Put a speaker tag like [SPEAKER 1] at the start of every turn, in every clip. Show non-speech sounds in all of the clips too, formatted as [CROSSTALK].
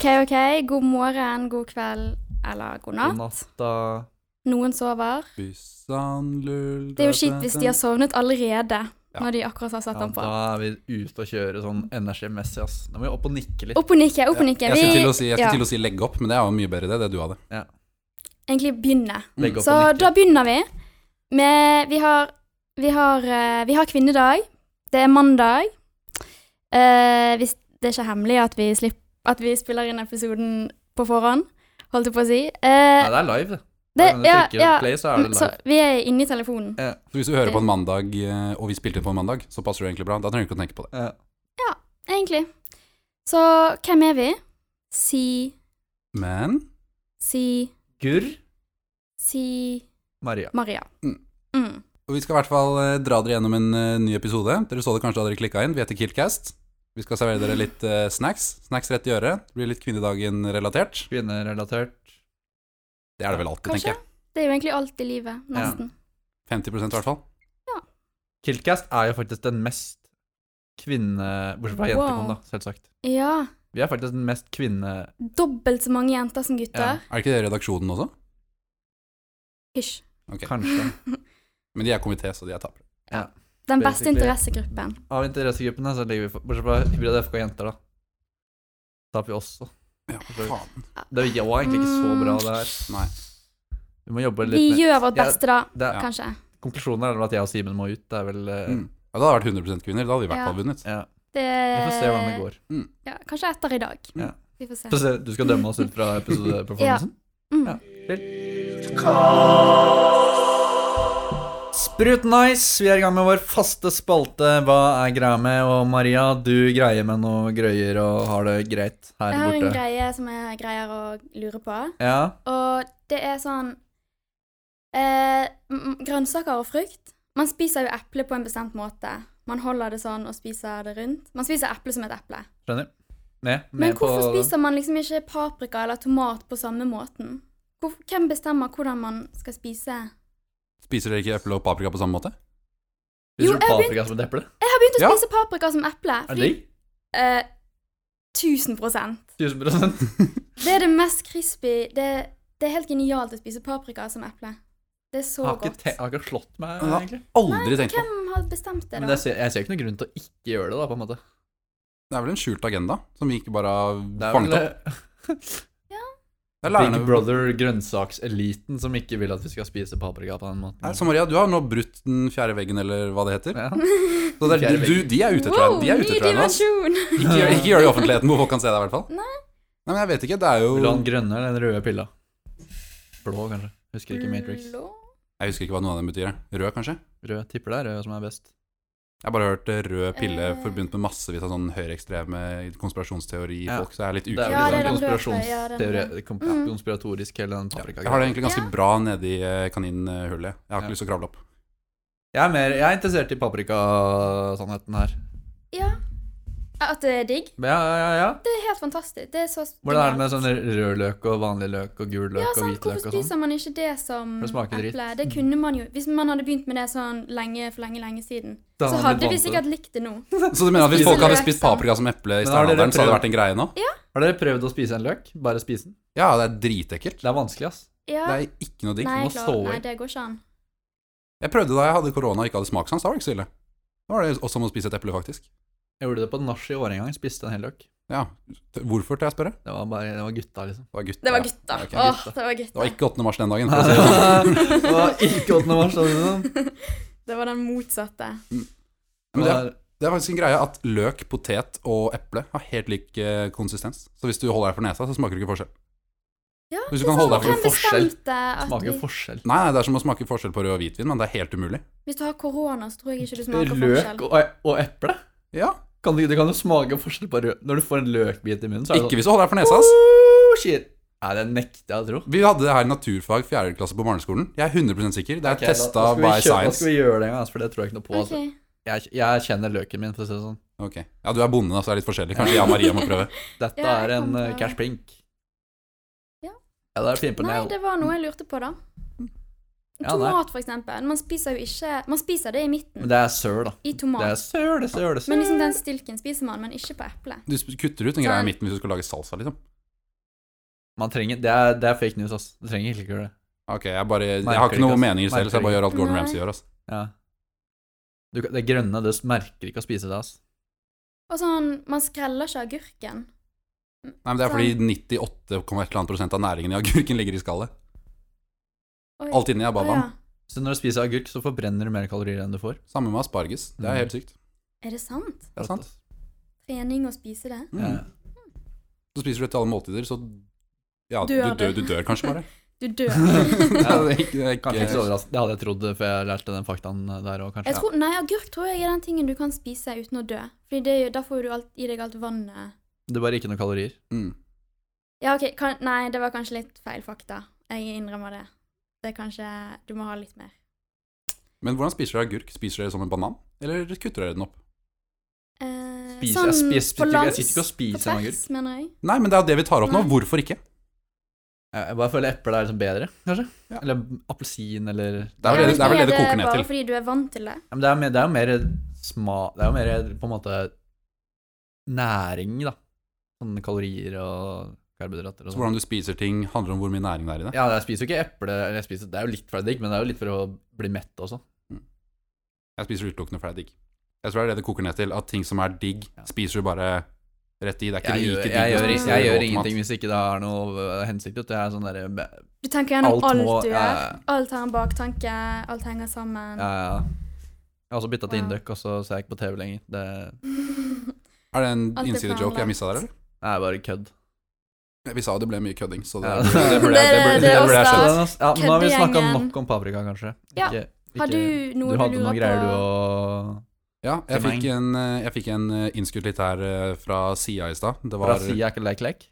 [SPEAKER 1] si god morgen, god kveld eller god natt.
[SPEAKER 2] Natta,
[SPEAKER 1] Noen sover.
[SPEAKER 2] bussan, lull
[SPEAKER 1] Det er jo kjipt hvis de har sovnet allerede
[SPEAKER 2] Ja.
[SPEAKER 1] når de akkurat har satt den på.
[SPEAKER 2] Ja, da er vi ute og kjører sånn energimessig, ass. Da må vi opp og nikke litt.
[SPEAKER 1] Opp og nikke, opp og nikke.
[SPEAKER 3] Jeg skulle til å si, jeg skulle
[SPEAKER 1] ja,
[SPEAKER 3] til å si legge opp, men det er jo mye bedre det, det du hadde.
[SPEAKER 1] egentlig begynne.
[SPEAKER 2] Legge opp
[SPEAKER 1] Så
[SPEAKER 2] og
[SPEAKER 1] da
[SPEAKER 2] nikke.
[SPEAKER 1] begynner vi med Vi har, vi har, eh, vi har kvinnedag. Det er mandag. Eh, hvis det er ikke hemmelig at vi, slipp, at vi spiller inn episoden på forhånd, holdt jeg på å si. Eh,
[SPEAKER 2] Nei, det er live, det.
[SPEAKER 1] det,
[SPEAKER 2] Når du
[SPEAKER 1] ja,
[SPEAKER 2] trykker
[SPEAKER 1] ja. Mm,
[SPEAKER 2] play, så er det
[SPEAKER 1] Så
[SPEAKER 2] live.
[SPEAKER 1] vi er inne i telefonen.
[SPEAKER 3] Så hvis du hører på en mandag, eh, og vi spilte inn på en mandag, så passer det egentlig bra. Da trenger du ikke å tenke på det.
[SPEAKER 2] Ja.
[SPEAKER 1] Egentlig. Så hvem er vi? Si,
[SPEAKER 3] Men
[SPEAKER 1] si,
[SPEAKER 2] Gurr
[SPEAKER 1] si
[SPEAKER 2] Maria.
[SPEAKER 1] Maria.
[SPEAKER 3] Mm.
[SPEAKER 1] Mm.
[SPEAKER 3] og vi skal i hvert fall eh, dra dere gjennom en eh, ny episode. Dere så det kanskje da dere klikka inn. Vi heter Killcast. Vi skal servere dere litt eh, snacks. Snacks rett i øret. Det blir litt Kvinnedagen-relatert.
[SPEAKER 2] Kvinnerelatert.
[SPEAKER 3] Det er det vel alltid,
[SPEAKER 1] Kanskje?
[SPEAKER 3] tenker jeg.
[SPEAKER 1] Det er jo egentlig alt i livet, nesten.
[SPEAKER 3] 50 i hvert fall.
[SPEAKER 2] Kiltcast er jo faktisk den mest kvinne... Bortsett fra
[SPEAKER 1] Wow.
[SPEAKER 2] jentekon, da, selvsagt.
[SPEAKER 1] Ja.
[SPEAKER 2] Vi er faktisk den mest kvinne...
[SPEAKER 1] Dobbelt så mange jenter som gutter.
[SPEAKER 3] Er det ikke det i redaksjonen også?
[SPEAKER 1] Hysj.
[SPEAKER 3] Ok.
[SPEAKER 2] Kanskje.
[SPEAKER 3] Men de er komité, så de er tapere.
[SPEAKER 1] Den beste
[SPEAKER 2] Basically.
[SPEAKER 1] interessegruppen.
[SPEAKER 2] Av interessegruppene så ligger vi for- Bortsett fra Hybrid FK Jenter, da. Taper vi også.
[SPEAKER 3] Ja, faen.
[SPEAKER 2] Det var egentlig ikke så bra, det her.
[SPEAKER 3] Nei.
[SPEAKER 2] Vi må jobbe
[SPEAKER 1] Mm. Vi
[SPEAKER 2] litt med
[SPEAKER 1] gjør vårt
[SPEAKER 2] Ja,
[SPEAKER 1] beste da,
[SPEAKER 2] det er,
[SPEAKER 3] Ja.
[SPEAKER 1] kanskje.
[SPEAKER 2] Konklusjonen er vel at jeg og Simen må ut. Det er vel eh,
[SPEAKER 3] Mm. Ja, da hadde det vært 100 kvinner. Da hadde vi i hvert
[SPEAKER 1] Ja.
[SPEAKER 3] fall vunnet.
[SPEAKER 2] Ja.
[SPEAKER 1] Det,
[SPEAKER 2] Vi får se hvordan det går.
[SPEAKER 1] Ja, kanskje etter i dag.
[SPEAKER 2] Ja.
[SPEAKER 1] Vi får se.
[SPEAKER 2] Få se, Du skal dømme oss ut fra episodeperformancen?
[SPEAKER 1] Mm.
[SPEAKER 2] Ja. Sprut nice! Vi er i gang med vår faste spalte Hva er greia med? Og Maria, du greier med noe grøyer og har det greit her
[SPEAKER 1] Jeg har en
[SPEAKER 2] borte.
[SPEAKER 1] greie som jeg greier å lure på.
[SPEAKER 2] ja,
[SPEAKER 1] Og det er sånn eh, m- m- Grønnsaker og frukt. Man spiser jo eple på en bestemt måte. Man holder det sånn og spiser det rundt. Man spiser eple som et eple.
[SPEAKER 2] skjønner. Ned, ned
[SPEAKER 1] Men hvorfor
[SPEAKER 2] på
[SPEAKER 1] spiser man liksom ikke paprika eller tomat på samme måten? Hvor, hvem bestemmer hvordan man skal spise?
[SPEAKER 3] Spiser dere ikke eple og paprika på samme måte?
[SPEAKER 1] Jo,
[SPEAKER 2] Spiser du
[SPEAKER 1] jeg
[SPEAKER 2] paprika som et eple?
[SPEAKER 1] Jeg har begynt å
[SPEAKER 3] Ja.
[SPEAKER 1] spise paprika som eple.
[SPEAKER 2] Er det digg?
[SPEAKER 1] eh, 1000
[SPEAKER 2] 1000
[SPEAKER 1] Det er det mest crispy det, det er helt genialt å spise paprika som eple. Det er så
[SPEAKER 2] Jeg har ikke,
[SPEAKER 1] godt.
[SPEAKER 2] te- jeg har ikke slått meg,
[SPEAKER 3] Ja.
[SPEAKER 2] egentlig.
[SPEAKER 3] Aldri tenkt på.
[SPEAKER 1] Hvem har bestemt det,
[SPEAKER 2] Men
[SPEAKER 1] da?
[SPEAKER 2] det ser, jeg ser ikke noen grunn til å ikke gjøre det, da, på en måte.
[SPEAKER 3] Det er vel en skjult agenda som vi ikke bare
[SPEAKER 2] Det
[SPEAKER 3] har
[SPEAKER 2] er
[SPEAKER 3] fanget
[SPEAKER 2] vel
[SPEAKER 3] opp.
[SPEAKER 2] eh,
[SPEAKER 3] Det er
[SPEAKER 2] Big
[SPEAKER 3] lærerne-
[SPEAKER 2] Brother, grønnsakseliten, som ikke vil at vi skal spise paprika på den måten.
[SPEAKER 3] Nei, Så Maria, du har nå brutt den fjerde veggen, eller hva det heter.
[SPEAKER 2] Ja.
[SPEAKER 3] Så det er,
[SPEAKER 2] Fjerde
[SPEAKER 3] du, de er ute etter deg. De er ute
[SPEAKER 1] ny
[SPEAKER 3] etter deg nå. ass.
[SPEAKER 1] dimensjon!
[SPEAKER 3] Ikke, gjør- ikke gjør det i offentligheten hvor folk kan se deg, i hvert fall.
[SPEAKER 1] Nei.
[SPEAKER 3] Nei, men jeg vet ikke. Det er
[SPEAKER 2] Vil du ha
[SPEAKER 3] jo
[SPEAKER 1] Oh.
[SPEAKER 2] den grønne eller den røde pilla? Blå, kanskje. Husker ikke Matrix.
[SPEAKER 1] Mm, Blå.
[SPEAKER 3] Jeg husker ikke hva noe av dem betyr. jeg. Rød, kanskje?
[SPEAKER 2] Rød tipper det er rød som er best.
[SPEAKER 3] Jeg har bare hørt eh, rød pille
[SPEAKER 1] Eh.
[SPEAKER 3] forbundet med massevis av sånn høyreekstreme konspirasjonsteori-folk, så jeg er litt
[SPEAKER 2] Det er
[SPEAKER 3] ukjent.
[SPEAKER 1] Ja,
[SPEAKER 2] vel
[SPEAKER 1] det er den
[SPEAKER 2] sånn
[SPEAKER 1] røde, ja, den
[SPEAKER 2] konspirasjonsteori-
[SPEAKER 1] røde.
[SPEAKER 2] kom-
[SPEAKER 1] Mm.
[SPEAKER 2] konspiratorisk, hele den
[SPEAKER 3] Jeg har det
[SPEAKER 2] paprikagreia.
[SPEAKER 3] egentlig ganske
[SPEAKER 1] Ja.
[SPEAKER 3] bra nedi eh, kaninhullet. Jeg
[SPEAKER 2] Ja.
[SPEAKER 3] har ikke lyst til å kravle opp. [LAUGHS]
[SPEAKER 2] Jeg er mer jeg er interessert i paprikasannheten her.
[SPEAKER 1] Ja. At det er digg?
[SPEAKER 2] Men ja, ja, ja, ja.
[SPEAKER 1] Det er helt fantastisk. Det er så
[SPEAKER 2] Hvordan er det med
[SPEAKER 1] genialt.
[SPEAKER 2] sånn rød løk og vanlig løk og gul løk
[SPEAKER 1] ja,
[SPEAKER 2] og
[SPEAKER 1] sant?
[SPEAKER 2] hvit løk
[SPEAKER 1] Hvorfor
[SPEAKER 2] og sånn?
[SPEAKER 1] spiser man ikke det som
[SPEAKER 2] For det smaker dritt.
[SPEAKER 1] eple? Det kunne man jo Hvis man hadde begynt med det sånn lenge, for lenge, lenge siden,
[SPEAKER 2] Da
[SPEAKER 1] så
[SPEAKER 2] hadde man
[SPEAKER 1] hadde vi
[SPEAKER 2] blitt vant
[SPEAKER 1] sikkert likt det nå.
[SPEAKER 3] Så du mener at hvis
[SPEAKER 2] Spiser
[SPEAKER 3] folk hadde
[SPEAKER 1] løk
[SPEAKER 3] spist
[SPEAKER 1] sånn.
[SPEAKER 3] paprika som eple
[SPEAKER 2] Men
[SPEAKER 3] i
[SPEAKER 2] har dere
[SPEAKER 3] steinalderen, så hadde det
[SPEAKER 2] prøvd-
[SPEAKER 3] vært en greie nå?
[SPEAKER 2] Har dere prøvd å spise en løk? Bare spise den?
[SPEAKER 3] Ja, det er dritekkelt.
[SPEAKER 2] Det er vanskelig, ass.
[SPEAKER 1] Ja.
[SPEAKER 3] Det er ikke noe digg.
[SPEAKER 1] nei,
[SPEAKER 2] må
[SPEAKER 1] klar-
[SPEAKER 2] stå i.
[SPEAKER 1] nei, det går ikke an.
[SPEAKER 3] Jeg prøvde da jeg hadde korona og ikke hadde smakssans. Da var det ikke så ille. Da var det også som å spise et eple, faktisk.
[SPEAKER 2] Jeg gjorde det på nach i år en gang. Spiste en hel løk.
[SPEAKER 3] Ja, t- Hvorfor, tør jeg spørre?
[SPEAKER 2] Det var, bare, det var gutta,
[SPEAKER 3] [LAUGHS]
[SPEAKER 2] liksom.
[SPEAKER 3] Det var gutt.
[SPEAKER 1] Det var
[SPEAKER 3] ja.
[SPEAKER 1] gutta.
[SPEAKER 3] Ja, ok,
[SPEAKER 1] Åh,
[SPEAKER 2] gutta.
[SPEAKER 1] det var gutta.
[SPEAKER 3] Det var ikke 8. mars den
[SPEAKER 2] [LAUGHS]
[SPEAKER 3] dagen. for å si det. sånn.
[SPEAKER 2] det var ikke 8. mars. Liksom.
[SPEAKER 1] Det var den motsatte.
[SPEAKER 3] Men
[SPEAKER 2] Det
[SPEAKER 3] det,
[SPEAKER 2] var-
[SPEAKER 3] det er faktisk en greie at løk, potet og eple har helt lik eh, konsistens. Så hvis du holder deg for nesa, så smaker du ikke forskjell.
[SPEAKER 1] Ja,
[SPEAKER 3] Hvis du kan holde deg for
[SPEAKER 1] Hvem
[SPEAKER 2] forskjell.
[SPEAKER 1] bestemte at
[SPEAKER 2] smaker jo
[SPEAKER 1] vi,
[SPEAKER 2] forskjell.
[SPEAKER 3] Nei, nei, det er som å smake forskjell på rød og hvitvin, men det er helt umulig.
[SPEAKER 1] Hvis du har korona, så tror jeg ikke du smaker
[SPEAKER 2] Løk
[SPEAKER 1] forskjell.
[SPEAKER 2] og, e- og eple?
[SPEAKER 3] Ja,
[SPEAKER 2] Kan du, det kan jo smake forskjell på rød Når du får en løkbit i munnen, så er
[SPEAKER 3] Ikke
[SPEAKER 2] det
[SPEAKER 3] hvis du holder deg for nesa,
[SPEAKER 2] sånn
[SPEAKER 3] ass.
[SPEAKER 2] «Åh, shit. Nei, det nekter jeg å tro.
[SPEAKER 3] Vi hadde det her i naturfag 4. klasse på barneskolen. Jeg er 100 sikker. Det er
[SPEAKER 2] Ok, da-
[SPEAKER 3] testa
[SPEAKER 2] da skal vi
[SPEAKER 3] by
[SPEAKER 2] kjø- Da skal
[SPEAKER 3] science.
[SPEAKER 2] vi gjøre det en gang, ass, for det tror jeg ikke noe på.
[SPEAKER 1] Ok,
[SPEAKER 2] Altså. Jeg, jeg kjenner løken min, for å si det sånn.
[SPEAKER 3] Ok, Ja, du er bonde, da, så det er litt forskjellig. Kanskje jeg og Maria må prøve.
[SPEAKER 2] Dette
[SPEAKER 1] Ja, jeg
[SPEAKER 2] er en
[SPEAKER 1] kommer
[SPEAKER 2] eh,
[SPEAKER 1] til å-
[SPEAKER 2] cash pink.
[SPEAKER 1] Ja.
[SPEAKER 2] Ja, det er pimpen
[SPEAKER 1] Nei,
[SPEAKER 2] nail.
[SPEAKER 1] det var noe jeg lurte på, da.
[SPEAKER 2] Ja, nei.
[SPEAKER 1] Tomat, for eksempel. Man spiser jo ikke Man spiser det i
[SPEAKER 2] Men
[SPEAKER 1] midten.
[SPEAKER 2] det er søl, da.
[SPEAKER 1] I
[SPEAKER 2] Det er
[SPEAKER 1] tomat.
[SPEAKER 2] søl, det er søl, det er søl.
[SPEAKER 1] Men liksom den stilken spiser man, men ikke på eple.
[SPEAKER 3] Du sp- kutter ut en greie
[SPEAKER 1] Sånn.
[SPEAKER 3] i midten hvis du skal lage salsa, liksom.
[SPEAKER 2] Man trenger, det, er, det er fake news, ass. Du trenger ikke gjøre det.
[SPEAKER 3] Ok, jeg, bare, jeg
[SPEAKER 2] Merker
[SPEAKER 3] har ikke
[SPEAKER 2] ikke,
[SPEAKER 3] noen
[SPEAKER 2] ass.
[SPEAKER 3] meninger selv, så jeg bare
[SPEAKER 2] Merker
[SPEAKER 3] gjør alt Gordon
[SPEAKER 1] Nei.
[SPEAKER 3] Ramsay gjør. ass.
[SPEAKER 2] Ja. Du, kan- det grønne, det merker ikke å spise det, ass.
[SPEAKER 1] Og sånn, man skreller ikke agurken.
[SPEAKER 3] Nei, men Det er fordi 98,1 av næringen i agurken ligger i skallet.
[SPEAKER 1] Oi.
[SPEAKER 3] Alt inni er
[SPEAKER 1] Å,
[SPEAKER 3] babaen.
[SPEAKER 1] ja.
[SPEAKER 2] Så når du spiser agurk, så forbrenner du mer kalorier enn du får.
[SPEAKER 3] Samme med asparges. Det
[SPEAKER 2] Mm.
[SPEAKER 3] er helt sykt.
[SPEAKER 1] Er det sant?
[SPEAKER 3] Det er sant.
[SPEAKER 1] Trening og spise det?
[SPEAKER 3] Mm.
[SPEAKER 2] Ja.
[SPEAKER 3] Så spiser du det til alle måltider, så ja, du,
[SPEAKER 1] Dør
[SPEAKER 3] dør,
[SPEAKER 1] du.
[SPEAKER 3] du dør kanskje
[SPEAKER 1] [LAUGHS]
[SPEAKER 3] bare.
[SPEAKER 1] Du
[SPEAKER 2] [LAUGHS]
[SPEAKER 1] dør.
[SPEAKER 3] ja, det er ikke, det er [LAUGHS] ikke,
[SPEAKER 2] Kanskje ikke så overraskende. Det hadde jeg trodd før jeg lærte den faktaen eh, der òg, kanskje.
[SPEAKER 1] Jeg tror, nei, agurk tror jeg er den tingen du kan spise uten å dø. Fordi det, er jo- da får du alt, i deg alt vannet.
[SPEAKER 2] Det er bare ikke noen kalorier.
[SPEAKER 1] Eh,
[SPEAKER 3] Mm.
[SPEAKER 1] Ja, ok, kan, nei, det var kanskje litt feil fakta. Jeg innrømmer det. Det er kanskje, du må ha litt mer.
[SPEAKER 3] Men hvordan spiser dere agurk? Spiser dere som en banan, eller kutter dere den opp?
[SPEAKER 1] Eh,
[SPEAKER 2] Spiser- jeg spiser- sitter ikke- jeg sitter ikke og spiser
[SPEAKER 1] på
[SPEAKER 2] en
[SPEAKER 1] tvers, mener jeg.
[SPEAKER 3] Nei, men det er jo det vi tar opp nå.
[SPEAKER 1] Nei.
[SPEAKER 3] Hvorfor ikke?
[SPEAKER 2] Jeg jeg bare føler eplet er liksom bedre, kanskje.
[SPEAKER 3] Ja.
[SPEAKER 2] Eller appelsin, eller
[SPEAKER 1] Ja,
[SPEAKER 3] Det er vel det det, er vel det, det
[SPEAKER 1] men
[SPEAKER 3] koker ned
[SPEAKER 1] Bare
[SPEAKER 3] til.
[SPEAKER 1] fordi du er vant til det.
[SPEAKER 2] Ja, Men det er, mer- det er jo mer sma... Det er jo mer på en måte næring, da. Sånn kalorier og karbohydrater og sånn.
[SPEAKER 3] Så Altså, hvordan du spiser ting, handler om hvor mye næring det er i det.
[SPEAKER 2] Ja, jeg spiser jo ikke eple eller jeg spiser, Det er jo litt for å være digg, men det er jo litt for å bli mett også.
[SPEAKER 3] Jeg spiser utelukkende fordi det er digg. Jeg tror det er det det koker ned til, at ting som er digg,
[SPEAKER 2] Ja.
[SPEAKER 3] spiser du bare rett i. Det er ikke
[SPEAKER 2] Jeg,
[SPEAKER 3] like
[SPEAKER 2] gjør,
[SPEAKER 3] digg.
[SPEAKER 2] jeg,
[SPEAKER 3] å
[SPEAKER 2] gjør,
[SPEAKER 3] spise
[SPEAKER 2] jeg, gjør
[SPEAKER 3] rå tomat.
[SPEAKER 2] ingenting hvis ikke det har noe øh, hensikt. vet du. Jeg er sånn derre ja,
[SPEAKER 1] Du tenker gjennom
[SPEAKER 2] Alt
[SPEAKER 1] alt,
[SPEAKER 2] må-
[SPEAKER 1] du gjør.
[SPEAKER 2] ja, ja.
[SPEAKER 1] Alt har en baktanke, alt henger sammen.
[SPEAKER 2] ja. ja. Jeg har også bytta til
[SPEAKER 1] Wow.
[SPEAKER 2] Induc, og så ser jeg ikke på TV lenger. Det
[SPEAKER 3] Er det en
[SPEAKER 1] Alt er
[SPEAKER 3] insiderjoke jeg missa der, eller?
[SPEAKER 2] det er bare kødd.
[SPEAKER 3] Vi sa jo det ble mye kødding, så det,
[SPEAKER 2] Ja. [LAUGHS]
[SPEAKER 3] burde- det, burde-
[SPEAKER 1] Det-
[SPEAKER 3] det, burde-
[SPEAKER 1] det er
[SPEAKER 3] det burde jeg
[SPEAKER 1] også-
[SPEAKER 3] skjønt.
[SPEAKER 2] Ja, ja, men nå har vi snakka
[SPEAKER 1] køddegjengen.
[SPEAKER 2] nok om paprika, kanskje.
[SPEAKER 1] Ja.
[SPEAKER 2] Ikke-
[SPEAKER 1] [LAUGHS] har
[SPEAKER 2] ikke-
[SPEAKER 1] du noe
[SPEAKER 2] du
[SPEAKER 1] du
[SPEAKER 2] hadde noe
[SPEAKER 1] lurer
[SPEAKER 2] greier
[SPEAKER 1] på?
[SPEAKER 2] du å
[SPEAKER 3] Ja, jeg
[SPEAKER 2] Til
[SPEAKER 3] fikk en, eh, jeg fikk en eh, innskutt litt her eh, fra sida i stad. Det var
[SPEAKER 2] Fra sida ikke lek-lek?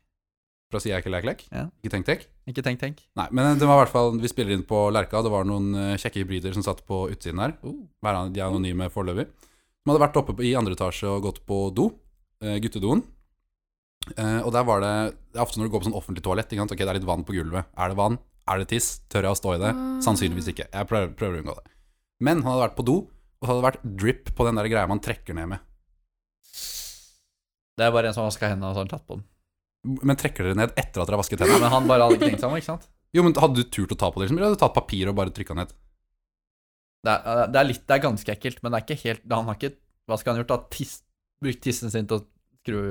[SPEAKER 3] Fra sida ikke lek-lek.
[SPEAKER 2] Ja.
[SPEAKER 3] Ikke tenk-tenk.
[SPEAKER 2] Ikke tenk, tenk.
[SPEAKER 3] Nei, men eh, det var i hvert fall Vi spiller inn på Lerka. Det var noen eh, kjekke hybrider som satt på utsiden her.
[SPEAKER 1] Oh.
[SPEAKER 3] Hver an- De er anonyme foreløpig. De hadde vært oppe på- i andre etasje og gått på do. eh, Guttedoen. Eh, Og der var det det er Ofte når du går på sånn offentlig toalett, ikke sant? Ok, det er litt vann på gulvet. Er det vann? Er det tiss? Tør jeg å stå i det?
[SPEAKER 1] Ah.
[SPEAKER 3] Sannsynligvis ikke. Jeg prøver, prøver å unngå det. Men han hadde vært på do, og så hadde det vært drip på den der greia man trekker ned med.
[SPEAKER 2] Det er bare en som har vaska hendene og så har han tatt på den.
[SPEAKER 3] Men trekker dere ned etter at dere har vasket
[SPEAKER 2] Ja,
[SPEAKER 3] hendene?
[SPEAKER 2] men han bare hadde ikke tenkt seg om, ikke sant?
[SPEAKER 3] Jo, men Hadde du turt å ta på det? liksom? Eller hadde du tatt papir og bare trykka ned?
[SPEAKER 2] Det er, eh, det er litt, det er ganske ekkelt, men det er ikke helt Han har ikke Hva skal han gjort, da? Tiss, brukt tissen sin til å skru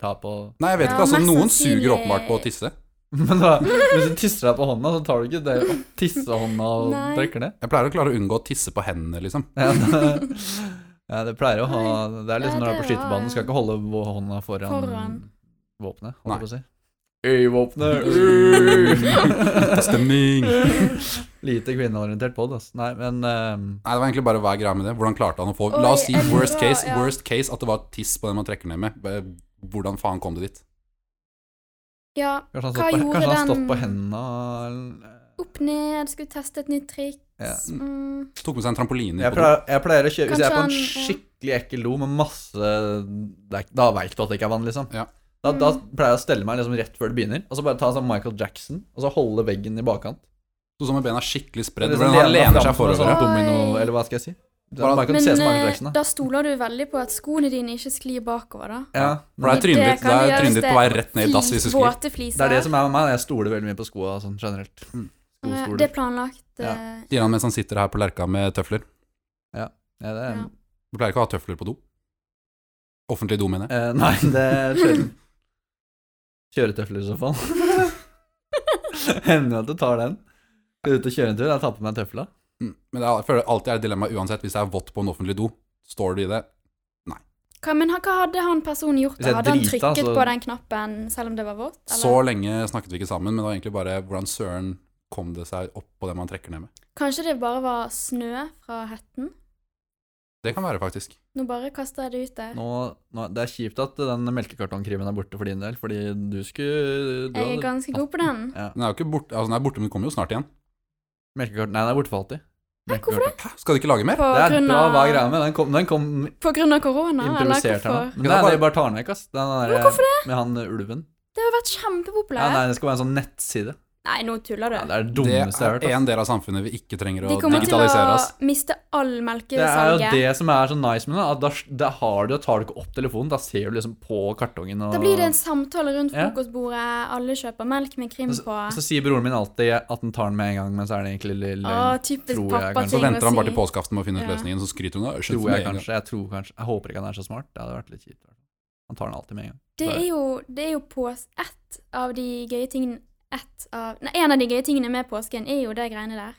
[SPEAKER 2] Ta på
[SPEAKER 3] Nei, jeg vet
[SPEAKER 1] Ja,
[SPEAKER 3] ikke. altså,
[SPEAKER 1] mest
[SPEAKER 3] Noen
[SPEAKER 1] sannsynlig-
[SPEAKER 3] suger åpenbart på å tisse.
[SPEAKER 2] [LAUGHS] Men da, hvis du tisser deg på hånda, så tar du ikke det opp tissehånda og
[SPEAKER 1] Nei.
[SPEAKER 2] trykker ned.
[SPEAKER 3] Jeg pleier å klare å unngå å tisse på hendene, liksom.
[SPEAKER 2] Ja, det, [LAUGHS] ja, det pleier å ha Det er
[SPEAKER 1] Ja,
[SPEAKER 2] liksom når du er
[SPEAKER 1] det
[SPEAKER 2] på
[SPEAKER 1] var-
[SPEAKER 2] skytebanen, du skal ikke holde vå- hånda foran,
[SPEAKER 1] Foran.
[SPEAKER 2] våpenet,
[SPEAKER 3] Nei.
[SPEAKER 2] holdt jeg på å si. [LAUGHS] Øyvåpenet! øy!
[SPEAKER 1] [LAUGHS]
[SPEAKER 3] Stemning! Nei,
[SPEAKER 2] [LAUGHS] Lite kvinneorientert på det, altså. Nei, men ehm,
[SPEAKER 3] Det var egentlig bare hva er greia med det. Hvordan klarte han å få
[SPEAKER 1] Oi,
[SPEAKER 3] La oss si
[SPEAKER 1] jeg lurer
[SPEAKER 3] worst
[SPEAKER 1] på-
[SPEAKER 3] case,
[SPEAKER 1] ja.
[SPEAKER 3] worst case at det var tiss på den man trekker ned med. Eh, Hvordan faen kom det dit?
[SPEAKER 1] Ja,
[SPEAKER 2] Kanskje
[SPEAKER 1] Hva
[SPEAKER 2] han, stått på,
[SPEAKER 1] gjorde
[SPEAKER 2] kanskje han
[SPEAKER 1] den-
[SPEAKER 2] stått på hendene eller-
[SPEAKER 1] opp ned, skulle teste et nytt triks.
[SPEAKER 2] Ja.
[SPEAKER 1] Mm.
[SPEAKER 3] Tok med seg en trampoline.
[SPEAKER 2] jeg
[SPEAKER 3] på do.
[SPEAKER 2] pleier, jeg pleier å kjøre Hvis jeg er på en
[SPEAKER 1] Kanskje han- ja.
[SPEAKER 2] skikkelig ekkel do med masse det er, Da veit du at det ikke er vann, liksom.
[SPEAKER 3] Ja.
[SPEAKER 2] Da, da
[SPEAKER 1] Mm.
[SPEAKER 2] pleier jeg å stelle meg liksom rett før det begynner, og så bare ta en sånn Michael Jackson og så holde veggen i bakkant.
[SPEAKER 3] Sånn som med bena skikkelig spredd.
[SPEAKER 2] Liksom
[SPEAKER 3] Hvordan han
[SPEAKER 2] lene
[SPEAKER 3] lener
[SPEAKER 2] fram
[SPEAKER 3] seg
[SPEAKER 2] som en
[SPEAKER 3] forover.
[SPEAKER 1] ja.
[SPEAKER 2] Sånn domino,
[SPEAKER 1] Oi.
[SPEAKER 2] eller hva skal jeg si? Det er
[SPEAKER 3] Bare-
[SPEAKER 2] Michael,
[SPEAKER 1] Men
[SPEAKER 2] ser ut som Michael
[SPEAKER 1] eh,
[SPEAKER 2] Jackson, da.
[SPEAKER 1] da stoler du veldig på at skoene dine ikke sklir bakover, da.
[SPEAKER 2] Ja.
[SPEAKER 3] For da er trynet
[SPEAKER 1] Det
[SPEAKER 3] ditt-
[SPEAKER 1] kan
[SPEAKER 3] da er
[SPEAKER 1] gjøres
[SPEAKER 3] trynet ditt på vei rett ned i dass
[SPEAKER 1] flis-
[SPEAKER 3] hvis du sklir.
[SPEAKER 1] Våte fliser.
[SPEAKER 2] Det er det som er med meg. Jeg stoler veldig mye på skoa sånn generelt.
[SPEAKER 3] Mm.
[SPEAKER 1] Ja,
[SPEAKER 2] Skostoler.
[SPEAKER 1] Eh, det er planlagt.
[SPEAKER 2] Ja.
[SPEAKER 1] eh,
[SPEAKER 3] Sier han mens han sitter her på lerka med tøfler.
[SPEAKER 2] Ja, det er,
[SPEAKER 1] Ja.
[SPEAKER 3] Du pleier ikke å ha tøfler på do. Offentlig do, mener jeg.
[SPEAKER 2] Eh, nei, det er sjelden. Kjøretøfler i
[SPEAKER 1] [LAUGHS]
[SPEAKER 2] så fall. [LAUGHS] Hender jo at du tar den. Skal du ut og kjøre en tur, jeg tar på meg tøfla.
[SPEAKER 3] Mm. Men det er, jeg føler alltid er et dilemma uansett. Hvis det er vått på en offentlig do, står du i det.
[SPEAKER 1] Hva, men hva hadde han personen gjort?
[SPEAKER 2] Hvis jeg
[SPEAKER 1] da? Hadde han
[SPEAKER 2] driter,
[SPEAKER 1] trykket
[SPEAKER 2] så-
[SPEAKER 1] på den knappen selv om det var vått?
[SPEAKER 3] Så lenge snakket vi ikke sammen, men det var egentlig bare hvordan søren kom det seg opp på det man trekker ned med.
[SPEAKER 1] Kanskje det bare var snø fra hetten?
[SPEAKER 3] Det kan være, faktisk.
[SPEAKER 1] Nå bare kaster jeg det ut der.
[SPEAKER 2] Nå, nå, det er kjipt at den melkekartongkrimen er borte for din del, fordi du skulle du
[SPEAKER 1] Jeg er ganske god på den.
[SPEAKER 2] Ja.
[SPEAKER 3] Den er jo ikke borte, altså den er borte, men den kommer jo snart igjen.
[SPEAKER 2] Melkekart... Nei, den er borte for alltid.
[SPEAKER 1] Hæ, hvorfor
[SPEAKER 2] Melkekartong-
[SPEAKER 3] Hæ? Skal du ikke lage mer?
[SPEAKER 1] På
[SPEAKER 2] Det er
[SPEAKER 1] grunn
[SPEAKER 2] bra
[SPEAKER 1] av,
[SPEAKER 2] hva er greia med den. kom, den kom
[SPEAKER 1] på grunn av korona? Eller
[SPEAKER 2] improvisert her nå.
[SPEAKER 1] hvorfor?
[SPEAKER 2] Men det er det bare tar den vekk, ass. Den
[SPEAKER 1] Men
[SPEAKER 2] der,
[SPEAKER 1] hvorfor
[SPEAKER 2] Med han eh, ulven.
[SPEAKER 1] Det har vært
[SPEAKER 2] Ja,
[SPEAKER 1] kjempepopulært.
[SPEAKER 2] nei, det skal være en sånn nettside.
[SPEAKER 1] Nei, nå tuller du.
[SPEAKER 2] Ja, det er det
[SPEAKER 3] Det
[SPEAKER 2] dummeste jeg har
[SPEAKER 3] er
[SPEAKER 2] hørt. ass.
[SPEAKER 3] en del av samfunnet vi ikke trenger å
[SPEAKER 1] De kommer til å
[SPEAKER 3] digitalisere. ass.
[SPEAKER 1] miste all
[SPEAKER 2] Det er jo
[SPEAKER 1] melkesalget.
[SPEAKER 2] det som er så nice med det. At da, da har du, tar du ikke opp telefonen, da ser du liksom på kartongen. Og,
[SPEAKER 1] Da blir det en samtale rundt
[SPEAKER 2] Ja.
[SPEAKER 1] frokostbordet. Alle kjøper melk med krim på.
[SPEAKER 2] Så sier broren min alltid at han tar den med en gang, men så er det egentlig litt
[SPEAKER 1] Å,
[SPEAKER 2] løgn.
[SPEAKER 1] typisk
[SPEAKER 2] tror jeg kanskje.
[SPEAKER 1] pappa-ting
[SPEAKER 3] Så
[SPEAKER 2] ting
[SPEAKER 3] venter han bare
[SPEAKER 1] si.
[SPEAKER 3] til påskeaften med å finne ut
[SPEAKER 1] Ja.
[SPEAKER 3] løsningen, så skryter hun av «Skjønt
[SPEAKER 2] Tror
[SPEAKER 3] med
[SPEAKER 2] jeg
[SPEAKER 3] en gang».
[SPEAKER 2] kanskje. Jeg tror kanskje. Jeg håper ikke han er så smart. Det hadde vært litt kjipt. Han tar den alltid med en gang.
[SPEAKER 1] Det er jo, det er jo pås... Ett av de gøye tingene ett av, nei, En av de gøye tingene med påsken er jo det greiene der.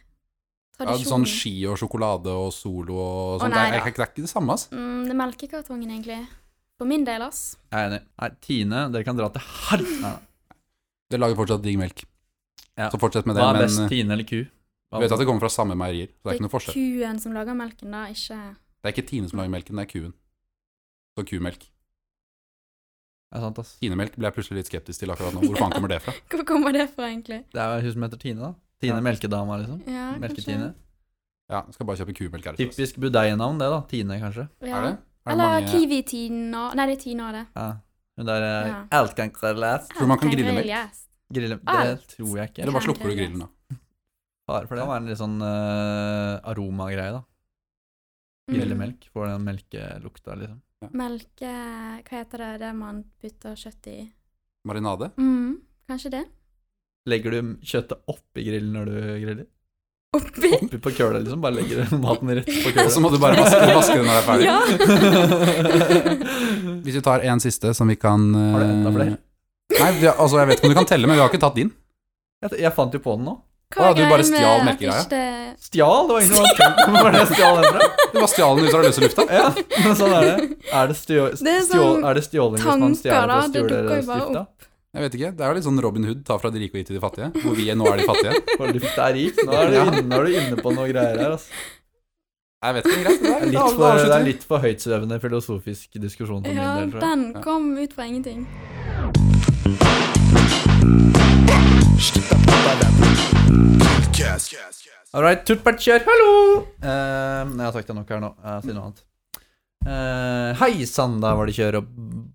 [SPEAKER 3] Ja,
[SPEAKER 1] Tradisjonen.
[SPEAKER 3] sånn ski og sjokolade og solo og
[SPEAKER 1] Å, nei
[SPEAKER 3] sånn. det, er,
[SPEAKER 1] da.
[SPEAKER 3] det er ikke det samme, ass.
[SPEAKER 1] mm, det er melkekartongen, egentlig. For min del, ass.
[SPEAKER 2] Jeg er enig. Nei, Tine, dere kan dra til her... Nei, nei.
[SPEAKER 3] Det lager fortsatt digg melk.
[SPEAKER 2] Ja.
[SPEAKER 3] Så fortsett med det,
[SPEAKER 2] Hva er
[SPEAKER 3] men
[SPEAKER 2] best,
[SPEAKER 3] eh,
[SPEAKER 2] Tine eller ku? Hva-
[SPEAKER 3] vi vet at det kommer fra samme meierier, så det er ikke noe forskjell.
[SPEAKER 1] kuen som lager melken, da, ikke [LAUGHS]
[SPEAKER 3] Det er ikke Tine som lager melken, det er kuen. Så kumelk.
[SPEAKER 2] Det er sant, ass.
[SPEAKER 3] Tinemelk ble jeg plutselig litt skeptisk til akkurat nå. Hvor faen kommer det
[SPEAKER 1] [LAUGHS]
[SPEAKER 3] fra?
[SPEAKER 1] Hvor kommer det fra, egentlig?
[SPEAKER 2] Det er jo hun som heter Tine, da. Tine
[SPEAKER 3] Ja.
[SPEAKER 2] Melkedama, liksom.
[SPEAKER 1] Ja, kanskje-
[SPEAKER 2] Melketine.
[SPEAKER 3] Ja, skal bare kjøpe kumelk her. altså.
[SPEAKER 2] Typisk budeie-navn, det, da. Tine, kanskje.
[SPEAKER 1] Ja.
[SPEAKER 3] Er det? Er det
[SPEAKER 1] Eller
[SPEAKER 3] mange-
[SPEAKER 1] kiwi-tina. Nei, det er tina, det.
[SPEAKER 2] Ja. Hun der eh,
[SPEAKER 1] Ja.
[SPEAKER 2] Outgangssalat.
[SPEAKER 3] Tror du man kan grille melk?
[SPEAKER 1] Yes.
[SPEAKER 2] Grille Det
[SPEAKER 1] Alt.
[SPEAKER 2] tror jeg ikke.
[SPEAKER 3] Eller bare slukker du grillen, da?
[SPEAKER 2] Far for det. Det kan være en litt sånn eh, aromagreie, da.
[SPEAKER 1] Mm.
[SPEAKER 2] Grille melk. Får den melkelukta, liksom.
[SPEAKER 1] Melke eh, Hva heter det det man putter kjøtt i?
[SPEAKER 3] Marinade?
[SPEAKER 1] Mm, kanskje det?
[SPEAKER 2] Legger du kjøttet oppi grillen når du griller?
[SPEAKER 1] Oppi?
[SPEAKER 2] Oppi på køla, liksom? Bare legger [LAUGHS] du maten rett på
[SPEAKER 3] Og
[SPEAKER 1] [LAUGHS]
[SPEAKER 2] køla?
[SPEAKER 3] så må du bare vaske, vaske den når det er ferdig.
[SPEAKER 1] Ja.
[SPEAKER 3] Hvis vi tar en siste som vi kan
[SPEAKER 2] Har du enda
[SPEAKER 3] eh,
[SPEAKER 2] flere?
[SPEAKER 3] Nei, vi har, altså, jeg vet ikke om du kan telle, men vi har ikke tatt din.
[SPEAKER 2] Jeg, jeg fant jo på den nå.
[SPEAKER 1] Hva
[SPEAKER 3] Å, du
[SPEAKER 1] er greia
[SPEAKER 3] bare
[SPEAKER 1] med
[SPEAKER 3] stjal
[SPEAKER 1] at
[SPEAKER 3] melkegreia?
[SPEAKER 1] ikke det-
[SPEAKER 2] Stjal? Det var egentlig bare
[SPEAKER 1] [LAUGHS]
[SPEAKER 2] tenkt på hvor jeg stjal den fra.
[SPEAKER 3] Du bare stjal den ut av løse lufta.
[SPEAKER 2] Ja, men sånn er det. Er det, stjå,
[SPEAKER 1] Det er
[SPEAKER 2] stjål,
[SPEAKER 1] sånn
[SPEAKER 2] er det stjåling hvis man
[SPEAKER 1] tanker,
[SPEAKER 2] stjeler
[SPEAKER 1] da.
[SPEAKER 2] og
[SPEAKER 1] Det
[SPEAKER 2] stjeler
[SPEAKER 1] dukker jo bare
[SPEAKER 2] stifta?
[SPEAKER 3] Jeg vet ikke, Det er jo litt sånn Robin Hood, ta fra de rike og gi til de fattige. Hvor vi nå er de
[SPEAKER 2] [LAUGHS]
[SPEAKER 3] fattige.
[SPEAKER 2] For luft er rik. Nå er du
[SPEAKER 3] Ja.
[SPEAKER 2] inne, nå er du inne på noe greier her, altså.
[SPEAKER 3] Jeg vet ikke, greit. Det
[SPEAKER 2] Det er litt
[SPEAKER 3] er da- da
[SPEAKER 2] for, det
[SPEAKER 3] avslutter
[SPEAKER 2] er
[SPEAKER 3] vi.
[SPEAKER 2] litt for høytsvevende filosofisk diskusjon for
[SPEAKER 1] Ja,
[SPEAKER 2] min del, tror jeg.
[SPEAKER 1] den kom ut fra ingenting.
[SPEAKER 2] All right, tuttbert kjør, hallo! Eh, nei, jeg har sagt det nok her nå. Jeg sier noe annet. Eh, hei sann, der var det kjør og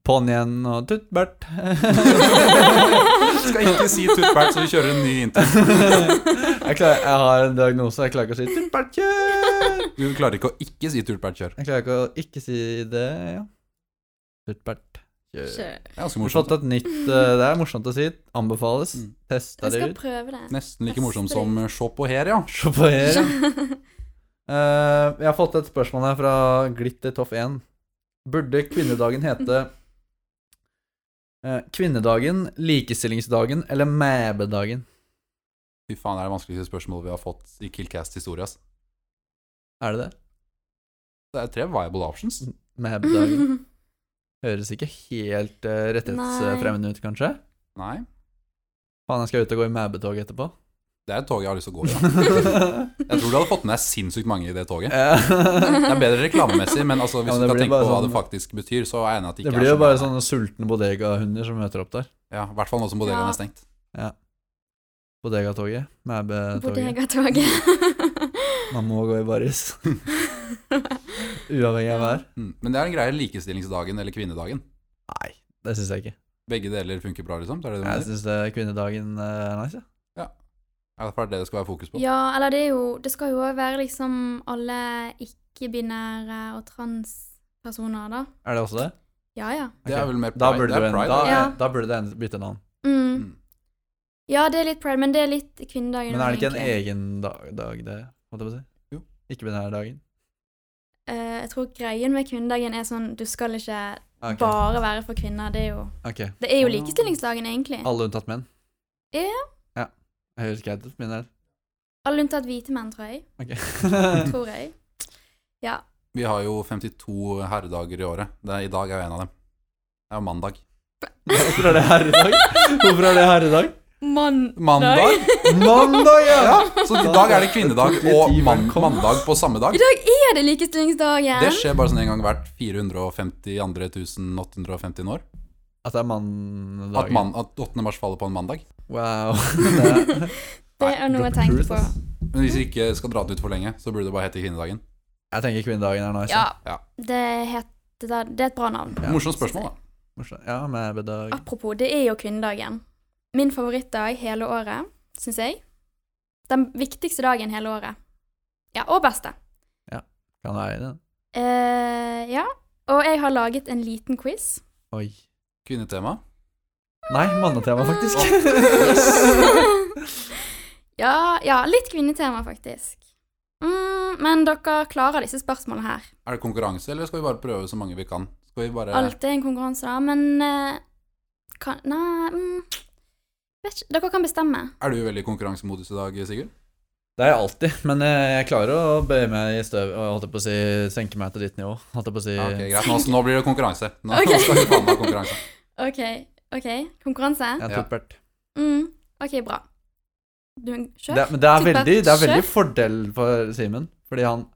[SPEAKER 2] på'n igjen og tuttbert.
[SPEAKER 3] [LAUGHS] Skal ikke si tuttbært, så vi kjører en ny intro.
[SPEAKER 2] Jeg, klarer, jeg har en diagnose, jeg klarer ikke å si tuttbert kjør.
[SPEAKER 3] Du klarer ikke å ikke si tuttbært kjør.
[SPEAKER 2] Jeg klarer ikke å ikke si det, ja. Tuttbert kjør.
[SPEAKER 1] Kjør.
[SPEAKER 3] Det er ganske
[SPEAKER 2] Vi har fått
[SPEAKER 3] morsomt.
[SPEAKER 2] et nytt eh, Det er morsomt å si. Anbefales.
[SPEAKER 3] Mm.
[SPEAKER 2] Testa
[SPEAKER 1] Jeg
[SPEAKER 2] det
[SPEAKER 1] skal
[SPEAKER 2] ut.
[SPEAKER 1] prøve det. [LAUGHS]
[SPEAKER 3] Nesten like morsomt som eh, se på her, ja.
[SPEAKER 2] Se på her, ja. Eh, jeg har fått et spørsmål her fra Glitter Toff 1. Burde kvinnedagen hete eh, Kvinnedagen, likestillingsdagen eller mæbedagen?
[SPEAKER 3] Fy faen, det er det vanskeligste spørsmålet vi har fått i Killcast historie. ass.
[SPEAKER 2] Er det det?
[SPEAKER 3] Det er tre viable options.
[SPEAKER 2] Mæbedagen.
[SPEAKER 1] [LAUGHS]
[SPEAKER 2] Høres ikke helt eh, rettighetsfremmende ut, kanskje?
[SPEAKER 3] Nei,
[SPEAKER 2] Faen, jeg skal ut og gå i mæbetog etterpå.
[SPEAKER 3] det er et tog jeg har lyst til å gå i. da.
[SPEAKER 2] [LAUGHS] Eh,
[SPEAKER 3] Jeg tror du hadde fått med deg sinnssykt mange i det toget. Det er bedre reklamemessig,
[SPEAKER 1] [LAUGHS]
[SPEAKER 3] men altså, hvis
[SPEAKER 2] Ja, men
[SPEAKER 3] du
[SPEAKER 2] det
[SPEAKER 3] skal
[SPEAKER 2] blir
[SPEAKER 3] tenke på
[SPEAKER 2] bare
[SPEAKER 3] hva
[SPEAKER 2] sånn-
[SPEAKER 3] det faktisk betyr, så er jeg enig at det
[SPEAKER 2] det
[SPEAKER 3] ikke
[SPEAKER 2] blir
[SPEAKER 3] er
[SPEAKER 2] jo bare
[SPEAKER 3] sånn.
[SPEAKER 2] sånne sultne bodegahunder som møter opp der.
[SPEAKER 3] Ja, I hvert fall nå som bodegaen
[SPEAKER 1] Ja.
[SPEAKER 3] er stengt.
[SPEAKER 2] Bodegatoget. Mæbetoget.
[SPEAKER 1] Bodegatoget.
[SPEAKER 2] Man må gå i baris. [LAUGHS] Uavhengig av vær.
[SPEAKER 3] Mm. Men det er en greie likestillingsdagen eller kvinnedagen.
[SPEAKER 2] Nei, det syns jeg ikke.
[SPEAKER 3] Begge deler funker bra, liksom. Det er det du
[SPEAKER 2] Jeg
[SPEAKER 3] mener?
[SPEAKER 2] syns kvinnedagen eh, er nice, ja.
[SPEAKER 3] Ja, det er det det skal være fokus på.
[SPEAKER 1] Ja, eller det er jo Det skal jo òg være liksom alle ikke-binære og transpersoner, da.
[SPEAKER 2] Er det også det?
[SPEAKER 1] Ja ja.
[SPEAKER 3] Det er
[SPEAKER 2] Ok.
[SPEAKER 3] vel mer
[SPEAKER 2] Da
[SPEAKER 3] pride.
[SPEAKER 2] burde,
[SPEAKER 3] Det
[SPEAKER 2] du
[SPEAKER 3] er
[SPEAKER 2] en,
[SPEAKER 3] pride.
[SPEAKER 2] da,
[SPEAKER 3] da.
[SPEAKER 1] Ja.
[SPEAKER 2] da burde det en, bytte navn.
[SPEAKER 1] Mm.
[SPEAKER 3] Mm.
[SPEAKER 1] Ja, det er litt pride, men det er litt kvinnedagen.
[SPEAKER 2] Men er det ikke en
[SPEAKER 1] egentlig.
[SPEAKER 2] egen dag, dag det holdt jeg på å si?
[SPEAKER 3] Jo.
[SPEAKER 2] Ikke-binærdagen?
[SPEAKER 1] Eh, jeg tror greien med kvinnedagen er sånn du skal ikke
[SPEAKER 2] Ah, Ok.
[SPEAKER 1] bare være for kvinner. Det er jo,
[SPEAKER 2] ok.
[SPEAKER 1] det er jo
[SPEAKER 3] Ah.
[SPEAKER 1] likestillingsdagen, egentlig.
[SPEAKER 2] Alle unntatt menn?
[SPEAKER 1] Ja.
[SPEAKER 2] ja. Jeg høres greit ut, min del.
[SPEAKER 1] Alle unntatt hvite menn, tror jeg.
[SPEAKER 2] Ok. [LAUGHS]
[SPEAKER 1] Tror jeg. Ja.
[SPEAKER 3] Vi har jo 52 herredager i året. Det er, I dag er jo en av dem. Det er jo mandag.
[SPEAKER 2] Hvorfor er det herredag? Hvorfor er det herredag?
[SPEAKER 1] Mann.
[SPEAKER 3] Mandag?
[SPEAKER 2] Mandag, ja!
[SPEAKER 3] Så i dag er det kvinnedag og man mandag på samme dag.
[SPEAKER 1] I dag er det likestillingsdagen!
[SPEAKER 3] Det skjer bare sånn en gang hvert 452 850 år.
[SPEAKER 2] At det er manndagen.
[SPEAKER 3] At, man, at 8. mars faller på en mandag.
[SPEAKER 2] Wow. [LAUGHS] Det er-
[SPEAKER 1] Det er noe jeg tenker på.
[SPEAKER 3] Men hvis vi ikke skal dra det ut for lenge, så burde det bare hete kvinnedagen.
[SPEAKER 2] Jeg tenker kvinnedagen er nice.
[SPEAKER 1] Ja.
[SPEAKER 3] Ja.
[SPEAKER 1] Det, heter, da- det er et bra navn.
[SPEAKER 2] Ja.
[SPEAKER 3] Morsomt spørsmål, da.
[SPEAKER 2] Morsomt. Ja, med bedag.
[SPEAKER 1] Ah. Apropos, det er jo kvinnedagen. Min favorittdag hele året. syns jeg. Den viktigste dagen hele året. Ja, og beste.
[SPEAKER 2] Kan være det.
[SPEAKER 1] Eh, ja. Og jeg har laget en liten quiz.
[SPEAKER 2] Oi.
[SPEAKER 3] Kvinnetema.
[SPEAKER 2] Nei, mannetema,
[SPEAKER 1] Mm.
[SPEAKER 2] faktisk. [LAUGHS]
[SPEAKER 1] [LAUGHS] ja, ja, litt kvinnetema, faktisk. Mm, men dere klarer disse spørsmålene her.
[SPEAKER 3] Er det konkurranse, eller skal vi bare prøve så mange vi kan? Skal vi bare
[SPEAKER 1] Alt er en konkurranse, da, men eh, kan, Nei mm, vet ikke. Dere kan bestemme.
[SPEAKER 3] Er du veldig i konkurransemodus i dag, Sigurd?
[SPEAKER 2] Det er jeg alltid, men eh, jeg klarer å bøye meg i støv og holdt jeg på å si, senke meg til ditt nivå. Holdt jeg på å si
[SPEAKER 3] Ja, Ah, ok, greit. Nå, nå blir det konkurranse. Nå
[SPEAKER 1] Ok.
[SPEAKER 3] skal vi faen meg ha konkurranse.
[SPEAKER 2] [LAUGHS]
[SPEAKER 1] OK. ok, Konkurranse?
[SPEAKER 2] Jeg
[SPEAKER 3] Ja.
[SPEAKER 2] har tuppert.
[SPEAKER 1] Mm, OK, bra. Du kjør.
[SPEAKER 2] Det, men det er,
[SPEAKER 1] Tuppert
[SPEAKER 2] veldig, det er veldig
[SPEAKER 1] sjef.
[SPEAKER 2] fordel for Simen, fordi han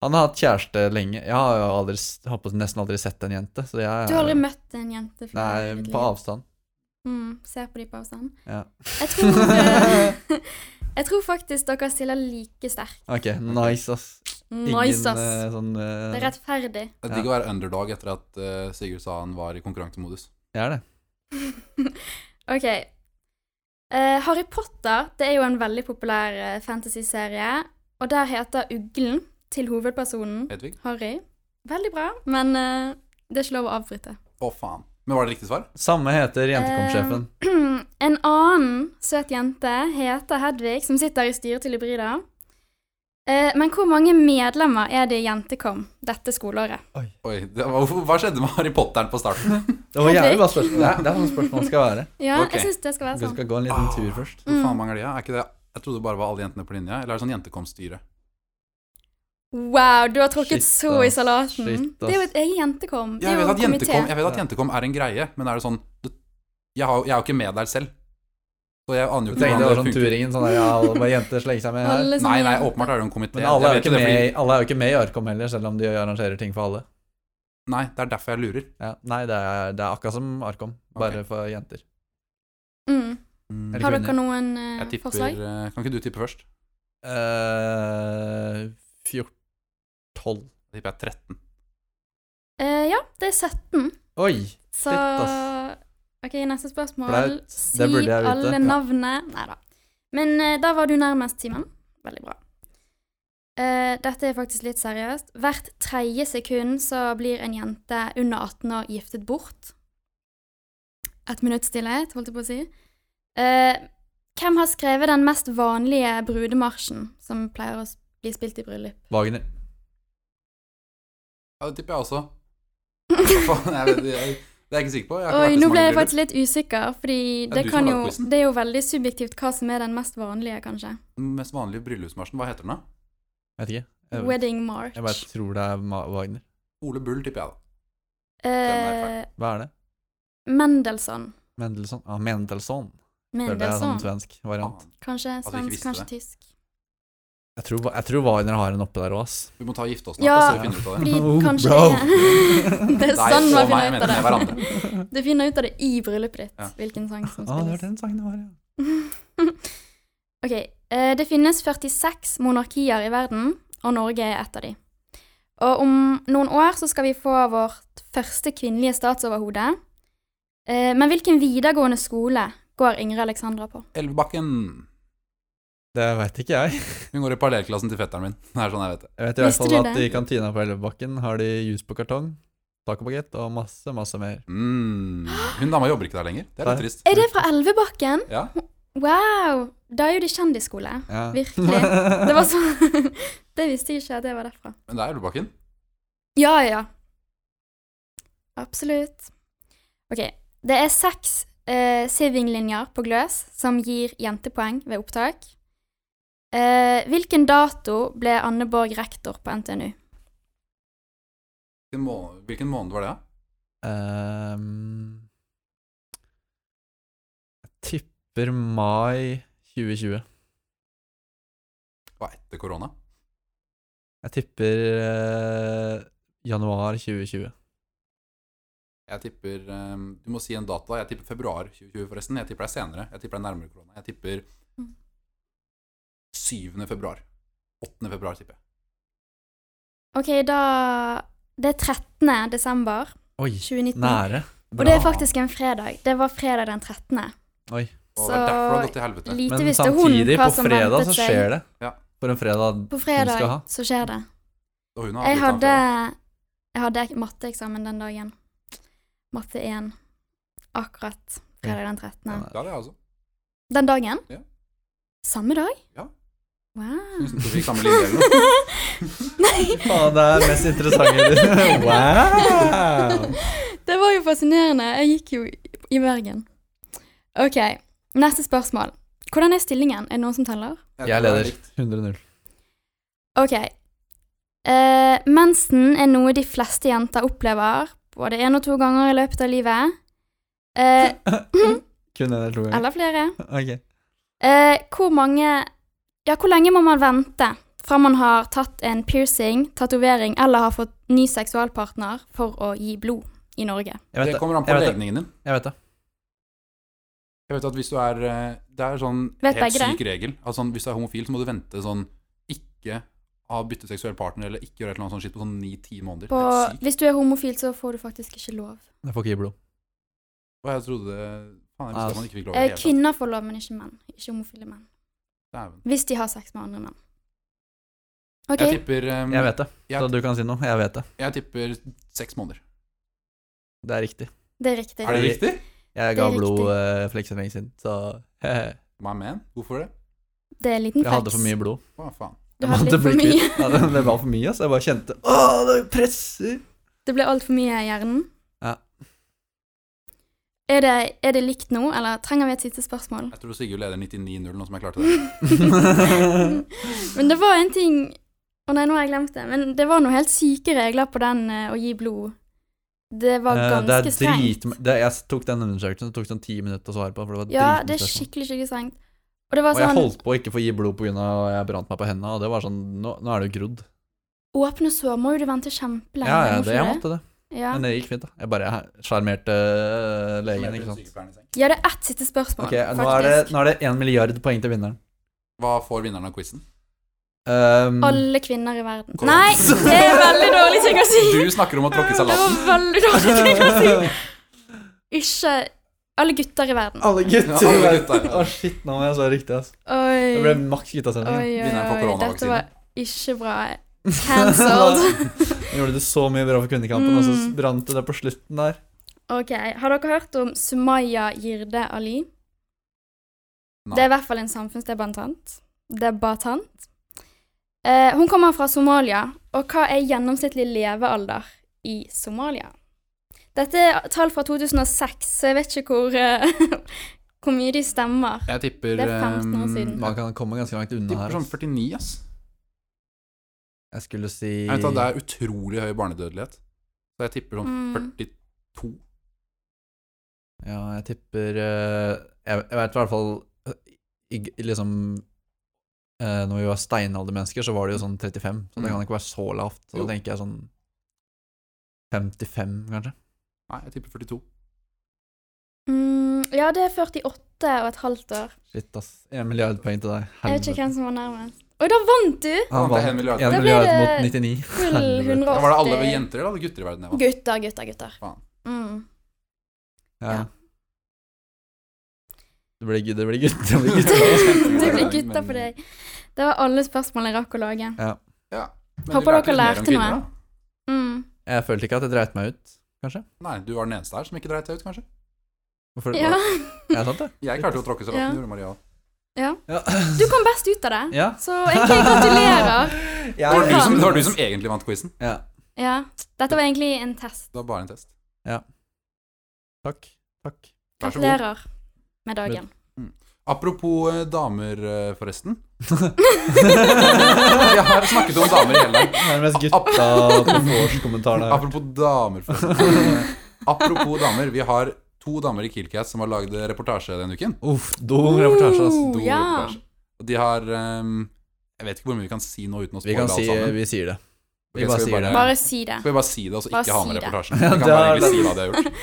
[SPEAKER 2] han har hatt kjæreste lenge. Jeg har jo aldri, s- holdt på å si, nesten aldri sett en jente. Så jeg,
[SPEAKER 1] Du har aldri møtt en jente før? i
[SPEAKER 2] Nei,
[SPEAKER 1] ditt
[SPEAKER 2] på
[SPEAKER 1] liv?
[SPEAKER 2] avstand.
[SPEAKER 1] Mm, ser på de på avstand?
[SPEAKER 2] Ja.
[SPEAKER 1] Jeg [LAUGHS] tror, jeg tror faktisk dere stiller like sterkt.
[SPEAKER 2] Ok, nice, ass.
[SPEAKER 1] Nice, ass.
[SPEAKER 2] eh, sånn eh,
[SPEAKER 1] Det er rettferdig.
[SPEAKER 3] Det er digg å være underdog etter at eh, Sigurd sa han var i konkurransemodus.
[SPEAKER 2] Jeg er det.
[SPEAKER 1] [LAUGHS] OK. Eh, Harry Potter det er jo en veldig populær eh, fantasyserie, og der heter Uglen til hovedpersonen
[SPEAKER 3] Hedvig?
[SPEAKER 1] Harry. Veldig bra, men eh, det er ikke lov å avbryte.
[SPEAKER 3] Å, faen. Men var det riktig svar?
[SPEAKER 2] Samme heter Jentekomsjefen.
[SPEAKER 1] Eh, [CLEARS THROAT] en annen søt jente heter Hedvig, som sitter i styret til Hybrida. Eh, men hvor mange medlemmer er det i Jentekom dette skoleåret?
[SPEAKER 3] Oi, det var, hvorfor- hva skjedde med Harry Potteren på
[SPEAKER 2] [LAUGHS]
[SPEAKER 3] starten?
[SPEAKER 2] Det var jævlig
[SPEAKER 1] Hedvig.
[SPEAKER 2] bra spørsmål. Det er, det er sånn spørsmål skal være.
[SPEAKER 1] Ja,
[SPEAKER 3] Ok.
[SPEAKER 1] jeg syns det skal være
[SPEAKER 2] Du
[SPEAKER 1] sånn.
[SPEAKER 2] skal gå en liten tur først.
[SPEAKER 3] Hvor
[SPEAKER 1] Mm.
[SPEAKER 3] faen mange er de? ja? Er ikke det Jeg trodde det bare var alle jentene på linja. Eller er det sånn jentekomstyre?
[SPEAKER 1] Wow, du har tråkket
[SPEAKER 2] Shit,
[SPEAKER 1] så i
[SPEAKER 2] ass.
[SPEAKER 1] salaten.
[SPEAKER 2] Shit, ass.
[SPEAKER 1] det er jo et eget jentekom. Det
[SPEAKER 3] Jeg
[SPEAKER 1] er jo
[SPEAKER 3] vet, at
[SPEAKER 1] en
[SPEAKER 3] jentekom,
[SPEAKER 1] komité.
[SPEAKER 3] jeg vet at jentekom er en greie, men er det sånn det- Jeg, har, jeg er jo ikke med der selv. Så jeg aner
[SPEAKER 2] Du
[SPEAKER 3] jo ikke
[SPEAKER 2] tenkte det var
[SPEAKER 3] hvordan
[SPEAKER 2] sånn
[SPEAKER 3] Ah. det funker.
[SPEAKER 2] turingen, sånn der, ja, alle bare jenter slenger seg med her.
[SPEAKER 1] Alle som er
[SPEAKER 3] Nei,
[SPEAKER 1] sånn
[SPEAKER 3] nei,
[SPEAKER 1] jenter.
[SPEAKER 3] åpenbart er det jo en komité.
[SPEAKER 2] Men alle er,
[SPEAKER 3] Jeg
[SPEAKER 2] jo
[SPEAKER 3] vet
[SPEAKER 2] ikke
[SPEAKER 3] det
[SPEAKER 2] med,
[SPEAKER 3] fordi-
[SPEAKER 2] i- alle er jo ikke med i Arkom heller, selv om de arrangerer ting for alle.
[SPEAKER 3] Nei, det er derfor jeg lurer.
[SPEAKER 2] Ja. Nei, det er, det er akkurat som Arkom, bare for jenter.
[SPEAKER 1] Mm.
[SPEAKER 2] Eller
[SPEAKER 1] Har
[SPEAKER 2] kvinner.
[SPEAKER 1] dere noen eh,
[SPEAKER 3] Jeg tipper
[SPEAKER 1] forslag?
[SPEAKER 3] eh, Kan ikke du tippe først?
[SPEAKER 2] Eh, 14-12
[SPEAKER 3] Jeg tipper jeg er 13.
[SPEAKER 1] Eh, ja, det er 17.
[SPEAKER 2] Oi!
[SPEAKER 1] Så
[SPEAKER 2] Shit, ass.
[SPEAKER 1] OK, neste spørsmål.
[SPEAKER 2] Flaut.
[SPEAKER 1] Si
[SPEAKER 2] Det burde jeg vite.
[SPEAKER 1] alle
[SPEAKER 2] Ja.
[SPEAKER 1] navnene Nei da. Men eh, da var du nærmest, Simen. Veldig bra. Eh, dette er faktisk litt seriøst. Hvert tredje sekund så blir en jente under 18 år giftet bort. Et minutts stillhet, holdt jeg på å si. Eh, hvem har skrevet den mest vanlige brudemarsjen som pleier å s- bli spilt i bryllup?
[SPEAKER 2] Wagner.
[SPEAKER 3] Ja, det tipper jeg også.
[SPEAKER 1] [LAUGHS] Oi,
[SPEAKER 3] Faen, jeg vet, jeg, det er jeg ikke sikker på. Jeg har ikke vært i så
[SPEAKER 1] nå ble
[SPEAKER 3] mange
[SPEAKER 1] jeg
[SPEAKER 3] bryllup.
[SPEAKER 1] faktisk litt usikker, fordi
[SPEAKER 3] Ja,
[SPEAKER 1] det,
[SPEAKER 3] du som
[SPEAKER 1] kan
[SPEAKER 3] har
[SPEAKER 1] jo,
[SPEAKER 3] quizzen.
[SPEAKER 1] det er jo veldig subjektivt hva som er den mest vanlige, kanskje.
[SPEAKER 3] Den mest vanlige bryllupsmarsjen, hva heter den da?
[SPEAKER 2] Vet ikke. Jeg, vet-
[SPEAKER 1] Wedding march.
[SPEAKER 2] jeg bare tror det er Ma Wagner.
[SPEAKER 3] Ole Bull, tipper jeg da.
[SPEAKER 1] Eh,
[SPEAKER 2] Hva er det?
[SPEAKER 1] Mendelssohn.
[SPEAKER 2] Mendelssohn? Ah, Mendelssohn. Føler det er sånn
[SPEAKER 1] Mendelssohn.
[SPEAKER 2] svensk variant.
[SPEAKER 3] Faen,
[SPEAKER 1] Kanskje
[SPEAKER 3] ikke
[SPEAKER 1] svensk,
[SPEAKER 3] visste
[SPEAKER 1] kanskje
[SPEAKER 3] det.
[SPEAKER 1] tysk.
[SPEAKER 2] Jeg tror, jeg tror Wagner har en oppe der òg, ass.
[SPEAKER 3] Vi må ta og gifte oss snart,
[SPEAKER 1] Ja.
[SPEAKER 3] så vi finner ut av det.
[SPEAKER 1] Fordi
[SPEAKER 2] [LAUGHS] Oh,
[SPEAKER 1] kanskje [LAUGHS]
[SPEAKER 2] bro.
[SPEAKER 1] det Det er
[SPEAKER 3] Deg
[SPEAKER 1] sånn man
[SPEAKER 3] og meg,
[SPEAKER 1] finner ut
[SPEAKER 3] mener jeg,
[SPEAKER 1] av det.
[SPEAKER 3] hverandre.
[SPEAKER 1] Du finner ut av det i bryllupet ditt,
[SPEAKER 3] Ja.
[SPEAKER 1] hvilken sang som
[SPEAKER 2] Ah, det var
[SPEAKER 1] spilles.
[SPEAKER 2] den sangen det var, ja.
[SPEAKER 1] ok, eh, det finnes 46 monarkier i verden, og Norge er et av de. Og om noen år så skal vi få vårt første kvinnelige statsoverhode. Eh, men hvilken videregående skole går Ingrid Alexandra på?
[SPEAKER 3] Elvebakken.
[SPEAKER 2] Det veit ikke jeg.
[SPEAKER 3] Hun går i parallellklassen til fetteren min. Det er sånn jeg vet det.
[SPEAKER 2] Jeg vet i hvert
[SPEAKER 1] Visste
[SPEAKER 2] fall
[SPEAKER 1] du
[SPEAKER 2] at
[SPEAKER 1] det?
[SPEAKER 2] i kantina på Elvebakken har de juice på kartong, tacobagett og masse, masse mer.
[SPEAKER 3] Mm. Hun dama jobber ikke der lenger. Det er litt
[SPEAKER 2] Nei.
[SPEAKER 3] trist.
[SPEAKER 1] Er det fra Elvebakken?
[SPEAKER 3] Ja.
[SPEAKER 1] Wow! Da er jo det kjendisskole.
[SPEAKER 2] Ja. [LAUGHS]
[SPEAKER 1] Virkelig. Det var sånn [LAUGHS] Det visste jeg ikke at det var derfra.
[SPEAKER 3] Men det er Elvebakken.
[SPEAKER 1] Ja, ja. Absolutt. Ok. Det er seks eh, sivinglinjer på Gløs som gir jentepoeng ved opptak. Eh, hvilken dato ble Anne Borg rektor på NTNU?
[SPEAKER 3] Hvilken må- Hvilken måned var det, da?
[SPEAKER 2] Ehm, jeg tipper mai 2020.
[SPEAKER 3] Det var etter korona.
[SPEAKER 2] Jeg tipper eh, januar 2020.
[SPEAKER 3] Jeg tipper ehm, Du må si en dato. da. Jeg tipper februar 2020, forresten. Jeg tipper det er senere. Jeg tipper det er nærmere korona. Jeg tipper
[SPEAKER 1] Mm.
[SPEAKER 3] 7. februar. 8. februar, tipper jeg.
[SPEAKER 1] Ok, da Det er 13. desember
[SPEAKER 2] Oi,
[SPEAKER 1] 2019.
[SPEAKER 2] nære.
[SPEAKER 1] Og det er
[SPEAKER 3] Bra.
[SPEAKER 1] faktisk en fredag. Det var fredag den 13.
[SPEAKER 2] Oi.
[SPEAKER 3] Og det er derfor det har
[SPEAKER 1] Så
[SPEAKER 3] gått til helvete.
[SPEAKER 1] lite
[SPEAKER 2] Men
[SPEAKER 1] visste hun
[SPEAKER 2] samtidig,
[SPEAKER 1] hva
[SPEAKER 2] på
[SPEAKER 1] som
[SPEAKER 2] fredag,
[SPEAKER 1] ventet
[SPEAKER 2] så
[SPEAKER 1] seg.
[SPEAKER 2] skjer det.
[SPEAKER 3] Ja.
[SPEAKER 2] For en fredag
[SPEAKER 1] På
[SPEAKER 2] Hun skal ha.
[SPEAKER 1] fredag så skjer det.
[SPEAKER 3] Og hun har
[SPEAKER 1] Jeg
[SPEAKER 3] avbrutt
[SPEAKER 1] hadde,
[SPEAKER 3] han
[SPEAKER 1] jeg hadde ek- matteeksamen den dagen. Matte 1. Akkurat fredag den 13.
[SPEAKER 3] før. Det hadde jeg også.
[SPEAKER 1] Den dagen?
[SPEAKER 3] Ja.
[SPEAKER 1] Samme dag?
[SPEAKER 3] Ja.
[SPEAKER 1] Wow.
[SPEAKER 3] Synes du fikk samme linje eller noe?
[SPEAKER 1] [LAUGHS]
[SPEAKER 2] Faen, det er mest interessante [LAUGHS] Wow!
[SPEAKER 1] Det var jo fascinerende. Jeg gikk jo i- i Bergen. OK, neste spørsmål. Hvordan er stillingen? Er det noen som teller?
[SPEAKER 3] tror det er
[SPEAKER 2] Jeg leder.
[SPEAKER 3] likt.
[SPEAKER 2] 100-0.
[SPEAKER 1] Ok. Eh, mensen er noe de fleste jenter opplever både én og to ganger i løpet av livet. Eh,
[SPEAKER 2] Kun én eller to ganger.
[SPEAKER 1] eller flere.
[SPEAKER 2] Ok.
[SPEAKER 1] Eh, hvor mange Ja, hvor lenge må man vente fra man har tatt en piercing, tatovering eller har fått ny seksualpartner for å gi blod i Norge?
[SPEAKER 2] Jeg vet
[SPEAKER 3] Det
[SPEAKER 2] det.
[SPEAKER 3] kommer an på
[SPEAKER 2] Jeg vet det.
[SPEAKER 3] legningen din.
[SPEAKER 2] Jeg vet det.
[SPEAKER 3] Jeg vet at hvis du er eh, Det er sånn
[SPEAKER 1] Vet
[SPEAKER 3] helt
[SPEAKER 1] begge det?
[SPEAKER 3] syk regel. Altså, sånn, hvis du er homofil, så må du vente sånn Ikke ha byttet seksuell partner eller ikke gjøre et eller annet sånt shit på sånn ni-ti måneder.
[SPEAKER 1] På,
[SPEAKER 3] Helt sykt.
[SPEAKER 1] hvis du er homofil, så får du faktisk ikke lov.
[SPEAKER 2] Jeg får ikke gi blod.
[SPEAKER 3] Og jeg trodde Faen, jeg visste at man ikke fikk lov i
[SPEAKER 1] Eh,
[SPEAKER 3] det hele tatt.
[SPEAKER 1] kvinner får lov, men ikke menn. Ikke homofile menn.
[SPEAKER 3] Dæven.
[SPEAKER 1] Hvis de har sex med andre menn. OK.
[SPEAKER 3] Jeg tipper um,
[SPEAKER 2] Jeg vet det.
[SPEAKER 3] Ja.
[SPEAKER 2] Så du kan si noe. Jeg vet det.
[SPEAKER 3] Jeg tipper seks måneder.
[SPEAKER 2] Det er riktig.
[SPEAKER 1] Det er riktig.
[SPEAKER 3] Er det riktig?
[SPEAKER 2] Jeg
[SPEAKER 1] Det
[SPEAKER 2] ga
[SPEAKER 1] er
[SPEAKER 2] blod
[SPEAKER 1] riktig.
[SPEAKER 2] eh, for ikke så lenge siden, så [LAUGHS] Jeg
[SPEAKER 3] My man? Hvorfor det?
[SPEAKER 1] Det er en liten
[SPEAKER 2] hadde for mye blod.
[SPEAKER 3] Å, faen.
[SPEAKER 1] Du
[SPEAKER 2] Jeg
[SPEAKER 1] hadde
[SPEAKER 2] måtte
[SPEAKER 1] litt for
[SPEAKER 2] bli
[SPEAKER 1] mye.
[SPEAKER 2] kvitt. [LAUGHS] Ja, det, det var for mye, altså. Jeg bare kjente Å, det presser!
[SPEAKER 1] Det ble altfor mye i hjernen.
[SPEAKER 2] Ja.
[SPEAKER 1] Er det, er det likt nå, eller trenger vi et siste spørsmål?
[SPEAKER 3] Jeg tror Sigurd leder 99-0 nå som jeg klarte det.
[SPEAKER 1] [LAUGHS] Men det var en ting Å nei, nå har jeg glemt det. Men det var noen helt syke regler på den eh, å gi blod. Det var
[SPEAKER 2] Eh,
[SPEAKER 1] ganske
[SPEAKER 2] det er
[SPEAKER 1] strengt.
[SPEAKER 2] drit, det, jeg tok den undersøkelsen, det tok sånn ti minutter å svare på. For det var
[SPEAKER 1] Ja,
[SPEAKER 2] dritmye
[SPEAKER 1] det er
[SPEAKER 2] spørsmål.
[SPEAKER 1] skikkelig, skikkelig strengt. Og det var
[SPEAKER 2] Og jeg
[SPEAKER 1] sånn
[SPEAKER 2] holdt på å ikke få gi blod pga. at jeg brant meg på hendene, og det var sånn Nå, nå er det jo grodd.
[SPEAKER 1] Åpne sår må jo du vente kjempelenge.
[SPEAKER 2] Ja, ja,
[SPEAKER 1] må
[SPEAKER 2] det,
[SPEAKER 1] ikke
[SPEAKER 2] jeg
[SPEAKER 1] det?
[SPEAKER 2] måtte det.
[SPEAKER 1] Ja.
[SPEAKER 2] Men det gikk fint, da. Jeg bare sjarmerte øh, legen, ikke sant.
[SPEAKER 1] ja, det er ett siste spørsmål,
[SPEAKER 2] Ok, nå er, det,
[SPEAKER 1] faktisk.
[SPEAKER 2] nå er det en milliard poeng til vinneren.
[SPEAKER 3] Hva får vinneren av quizen?
[SPEAKER 2] Um,
[SPEAKER 1] Alle kvinner i verden.
[SPEAKER 3] Korrekt.
[SPEAKER 1] Nei, det er veldig dårlig ting å si!
[SPEAKER 3] Du snakker om å tråkke i
[SPEAKER 1] Det var [LAUGHS]
[SPEAKER 3] salaten.
[SPEAKER 1] veldig dårlig ting å si.
[SPEAKER 2] [LAUGHS]
[SPEAKER 1] Ikke alle gutter i verden.
[SPEAKER 2] Alle gutter!
[SPEAKER 3] Ja,
[SPEAKER 2] Å,
[SPEAKER 3] alle gutter, ja.
[SPEAKER 2] shit, nå må jeg svare riktig, ass.
[SPEAKER 1] Oi,
[SPEAKER 2] Det ble maks
[SPEAKER 1] oi,
[SPEAKER 2] guttasending.
[SPEAKER 1] oi,
[SPEAKER 3] Vinneren får
[SPEAKER 1] oi. Dette
[SPEAKER 3] koronavaksine.
[SPEAKER 1] var ikke bra. Cancelled.
[SPEAKER 2] Gjorde det så mye bra for kvinnekampen, og så
[SPEAKER 1] Mm.
[SPEAKER 2] brant det der på slutten der.
[SPEAKER 1] Ok, Har dere hørt om Sumaya Jirde Ali?
[SPEAKER 3] Nei.
[SPEAKER 1] Det er i hvert fall en samfunnsdebattant. Debattant. Eh, hun kommer fra Somalia, og hva er gjennomsnittlig levealder i Somalia? Dette er tall fra 2006, så jeg vet ikke hvor, eh, [LAUGHS] hvor mye de stemmer.
[SPEAKER 3] Jeg tipper
[SPEAKER 1] Det er 15 år
[SPEAKER 3] um,
[SPEAKER 1] siden.
[SPEAKER 2] Man kan komme ganske langt
[SPEAKER 3] jeg
[SPEAKER 2] unna
[SPEAKER 3] tipper
[SPEAKER 2] her.
[SPEAKER 3] sånn
[SPEAKER 2] ass.
[SPEAKER 3] 49, ass.
[SPEAKER 2] Jeg skulle si
[SPEAKER 3] Jeg
[SPEAKER 1] sånn
[SPEAKER 3] vet at Det er utrolig høy barnedødelighet. Så jeg tipper sånn
[SPEAKER 1] Mm.
[SPEAKER 3] 42.
[SPEAKER 2] Ja, jeg tipper eh, Jeg, jeg vet i hvert fall eh, i, i liksom eh, Når vi var steinaldermennesker, så var det jo sånn 35, så det
[SPEAKER 3] Mm.
[SPEAKER 2] kan ikke være så lavt. Så
[SPEAKER 3] Jo.
[SPEAKER 2] da tenker jeg sånn 55, kanskje.
[SPEAKER 3] Nei, jeg tipper 42.
[SPEAKER 1] Mm, ja, det er 48 og et halvt år.
[SPEAKER 2] Shit, ass. En milliard poeng til deg.
[SPEAKER 1] Jeg vet ikke
[SPEAKER 2] Helvete.
[SPEAKER 1] hvem som var nærmest. Oi, da vant du!
[SPEAKER 3] Da
[SPEAKER 2] Han
[SPEAKER 3] vant jeg en
[SPEAKER 2] vant
[SPEAKER 3] milliard.
[SPEAKER 2] en
[SPEAKER 1] Da blir
[SPEAKER 2] milliard
[SPEAKER 1] det
[SPEAKER 2] mot 99.
[SPEAKER 1] Full
[SPEAKER 2] Helvete.
[SPEAKER 1] 180.
[SPEAKER 3] Ja, var det alle jenter eller alle gutter i verden? Jeg, vant?
[SPEAKER 1] Gutter, gutter, gutter.
[SPEAKER 3] Faen. [LAUGHS]
[SPEAKER 1] Mm.
[SPEAKER 2] Ja.
[SPEAKER 1] Ja.
[SPEAKER 2] Det blir gutt, det blir gutt. Det blir
[SPEAKER 1] [LAUGHS]
[SPEAKER 2] gutt.
[SPEAKER 1] det blir
[SPEAKER 3] Men-
[SPEAKER 1] gutter på deg. Det var alle spørsmål jeg rakk å lage.
[SPEAKER 3] Men
[SPEAKER 1] Håper
[SPEAKER 3] du lærte
[SPEAKER 1] dere
[SPEAKER 3] litt mer om
[SPEAKER 1] lærte noe.
[SPEAKER 3] kvinner, da.
[SPEAKER 1] Mm.
[SPEAKER 2] Jeg følte ikke at jeg dreit meg ut, kanskje.
[SPEAKER 3] Nei, du var den eneste her som ikke dreit deg ut, kanskje.
[SPEAKER 2] Hvorfor?
[SPEAKER 1] Ja.
[SPEAKER 2] Er det sant, det?
[SPEAKER 3] Jeg klarte jo å tråkke
[SPEAKER 1] Ja.
[SPEAKER 3] i salaten, gjorde Maria.
[SPEAKER 1] ja.
[SPEAKER 2] Ja.
[SPEAKER 1] Du kom best ut av det,
[SPEAKER 2] ja.
[SPEAKER 1] så egentlig
[SPEAKER 3] [LAUGHS]
[SPEAKER 1] gratulerer.
[SPEAKER 2] Ja,
[SPEAKER 3] Det var, du
[SPEAKER 1] faen.
[SPEAKER 3] som, det var du som egentlig vant quizen.
[SPEAKER 2] Ja.
[SPEAKER 1] Ja. Dette var egentlig en test.
[SPEAKER 3] Det var bare en test.
[SPEAKER 2] Takk. Takk.
[SPEAKER 3] Vær så god.
[SPEAKER 1] Gratulerer med
[SPEAKER 3] [LAUGHS]
[SPEAKER 1] dagen.
[SPEAKER 3] Apropos eh, damer, eh,
[SPEAKER 2] [LAUGHS]
[SPEAKER 3] forresten. Vi har snakket om damer i hele dag.
[SPEAKER 2] Det er den mest gutta på vårskommentaren her.
[SPEAKER 3] Apropos damer, forresten.
[SPEAKER 2] [LAUGHS]
[SPEAKER 3] Apropos damer, vi har to damer i Killcat som har lagd reportasje denne uken.
[SPEAKER 2] Uff, dum reportasje, ass.
[SPEAKER 1] Oh,
[SPEAKER 3] Stor
[SPEAKER 1] ja.
[SPEAKER 3] reportasje. Og de har ehm, Jeg vet ikke hvor mye vi kan si nå uten å
[SPEAKER 2] Vi
[SPEAKER 3] spoile
[SPEAKER 2] kan
[SPEAKER 3] alt
[SPEAKER 2] si
[SPEAKER 3] sammen.
[SPEAKER 2] Vi sier det.
[SPEAKER 3] Ok,
[SPEAKER 2] Vi bare
[SPEAKER 3] skal vi
[SPEAKER 2] sier
[SPEAKER 3] bare-
[SPEAKER 2] det.
[SPEAKER 1] Bare si det.
[SPEAKER 3] Skal vi bare si det, og så
[SPEAKER 1] Bare
[SPEAKER 3] ikke ha med
[SPEAKER 1] si det.
[SPEAKER 2] [LAUGHS]
[SPEAKER 3] reportasjen?
[SPEAKER 2] Ja,
[SPEAKER 3] Vi kan
[SPEAKER 2] det
[SPEAKER 3] bare
[SPEAKER 2] er-
[SPEAKER 3] egentlig si hva de har gjort.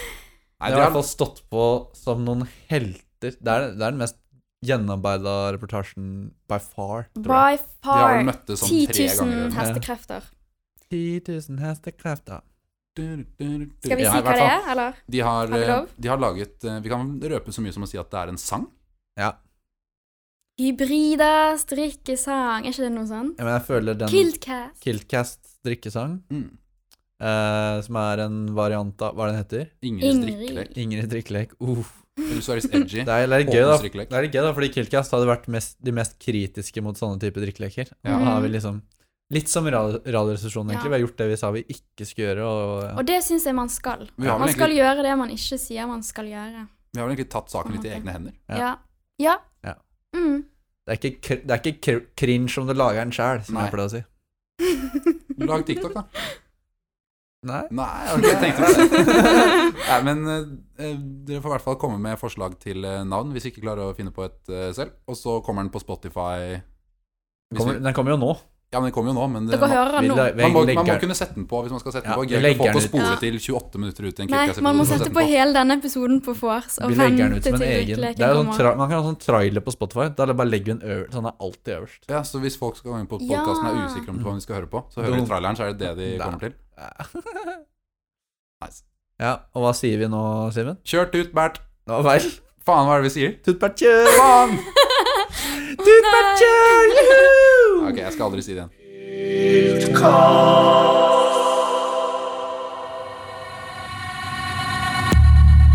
[SPEAKER 3] Nei,
[SPEAKER 2] De har i
[SPEAKER 3] de har,
[SPEAKER 2] hvert fall stått på som noen helter. Det er, det er den mest gjennomarbeida reportasjen by far.
[SPEAKER 1] By
[SPEAKER 2] tror jeg.
[SPEAKER 3] de har vel
[SPEAKER 1] far
[SPEAKER 3] møttes sånn
[SPEAKER 1] 10
[SPEAKER 3] tre
[SPEAKER 1] 000
[SPEAKER 3] ganger. eller noe.
[SPEAKER 1] hestekrefter.
[SPEAKER 2] 10 000 hestekrefter.
[SPEAKER 1] Skal vi si
[SPEAKER 3] Ja, i
[SPEAKER 1] hva
[SPEAKER 3] hvert
[SPEAKER 1] det
[SPEAKER 3] fall,
[SPEAKER 1] er, eller?
[SPEAKER 3] De har,
[SPEAKER 1] Har vi lov?
[SPEAKER 3] eh, de har laget eh, Vi kan røpe så mye som å si at det er en sang.
[SPEAKER 2] Ja.
[SPEAKER 1] Hybrida strikkesang. Er ikke det noe sånt?
[SPEAKER 2] Ja, Men jeg føler den
[SPEAKER 1] Kiltcast.
[SPEAKER 2] Kiltcast drikkesang,
[SPEAKER 3] Mm.
[SPEAKER 2] eh, som er en variant av Hva er den heter?
[SPEAKER 3] Ingrid
[SPEAKER 1] Ingrid.
[SPEAKER 3] strikkelek.
[SPEAKER 2] Ingrid drikkelek. Uh,
[SPEAKER 3] Eller så er det edgy.
[SPEAKER 2] det er litt gøy, da.
[SPEAKER 3] Åpen strikkelek.
[SPEAKER 2] Det er litt gøy da, fordi Kiltcast hadde vært mest, de mest kritiske mot sånne type drikkeleker.
[SPEAKER 1] Ja.
[SPEAKER 2] Da har vi liksom Litt som radio- Radioresepsjonen,
[SPEAKER 1] Mm. Ja.
[SPEAKER 2] egentlig. Vi har gjort det vi sa vi ikke skulle gjøre. Og, ja.
[SPEAKER 1] Og det syns jeg man skal.
[SPEAKER 3] Vi har,
[SPEAKER 1] Man
[SPEAKER 3] vel
[SPEAKER 1] skal
[SPEAKER 3] egentlig,
[SPEAKER 1] gjøre det man ikke sier man skal gjøre.
[SPEAKER 3] vi har vel egentlig tatt saken litt i egne hender.
[SPEAKER 2] Ja.
[SPEAKER 1] Ja. Ja.
[SPEAKER 2] Ja.
[SPEAKER 1] Mm.
[SPEAKER 2] Det er ikke, kr- det er ikke kr- cringe om du lager den sjæl, som
[SPEAKER 3] Nei.
[SPEAKER 2] jeg pleier å si.
[SPEAKER 3] Lag TikTok, da.
[SPEAKER 2] Nei.
[SPEAKER 3] Nei, jeg har ikke tenkt på det. [LAUGHS] Nei, men eh, dere får i hvert fall komme med forslag til eh, navn hvis vi ikke klarer å finne på et eh, selv. Og så kommer den på Spotify. Hvis
[SPEAKER 2] Kommer,
[SPEAKER 3] vi,
[SPEAKER 2] den kommer jo nå.
[SPEAKER 3] ja, men den kommer jo nå, men det,
[SPEAKER 1] Dere
[SPEAKER 3] man,
[SPEAKER 1] hører han
[SPEAKER 2] Vi
[SPEAKER 1] nå.
[SPEAKER 2] la- vi
[SPEAKER 3] man, må, man må
[SPEAKER 2] legger-
[SPEAKER 3] kunne sette den på hvis man skal sette den
[SPEAKER 2] Ja,
[SPEAKER 3] på.
[SPEAKER 2] vi
[SPEAKER 3] Gøy
[SPEAKER 2] legger
[SPEAKER 3] å få
[SPEAKER 2] den
[SPEAKER 3] til å
[SPEAKER 2] ut.
[SPEAKER 3] spole
[SPEAKER 1] Ja.
[SPEAKER 3] til 28 minutter ut i
[SPEAKER 1] Nei,
[SPEAKER 3] en Kickass-episode,
[SPEAKER 1] man må
[SPEAKER 3] så
[SPEAKER 1] sette
[SPEAKER 3] den
[SPEAKER 1] på hele denne episoden på vors og
[SPEAKER 2] Vi legger den
[SPEAKER 1] vente
[SPEAKER 2] ut
[SPEAKER 1] til
[SPEAKER 2] som en egen
[SPEAKER 1] drikkeleken
[SPEAKER 2] det er jo sånn
[SPEAKER 1] kommer.
[SPEAKER 2] tra Man kan ha sånn trailer på Spotify. Da bare legger vi en øverst. Sånn er alltid øverst.
[SPEAKER 3] Ja, så hvis folk skal gå inn på
[SPEAKER 1] Ja.
[SPEAKER 3] podkasten og er usikre om hva de skal høre på, så hører de traileren, så er det det de
[SPEAKER 2] Da.
[SPEAKER 3] kommer til.
[SPEAKER 2] [LAUGHS]
[SPEAKER 3] Nice.
[SPEAKER 2] Ja, og hva sier vi nå, Simen?
[SPEAKER 3] Kjørt ut, Bert.
[SPEAKER 2] Det var feil.
[SPEAKER 3] Faen, hva er det vi sier?
[SPEAKER 2] Tutbertkjør!
[SPEAKER 3] Faen! [LAUGHS]
[SPEAKER 2] Tutbertkjør! Juhu!
[SPEAKER 3] Ok, jeg skal aldri si det igjen.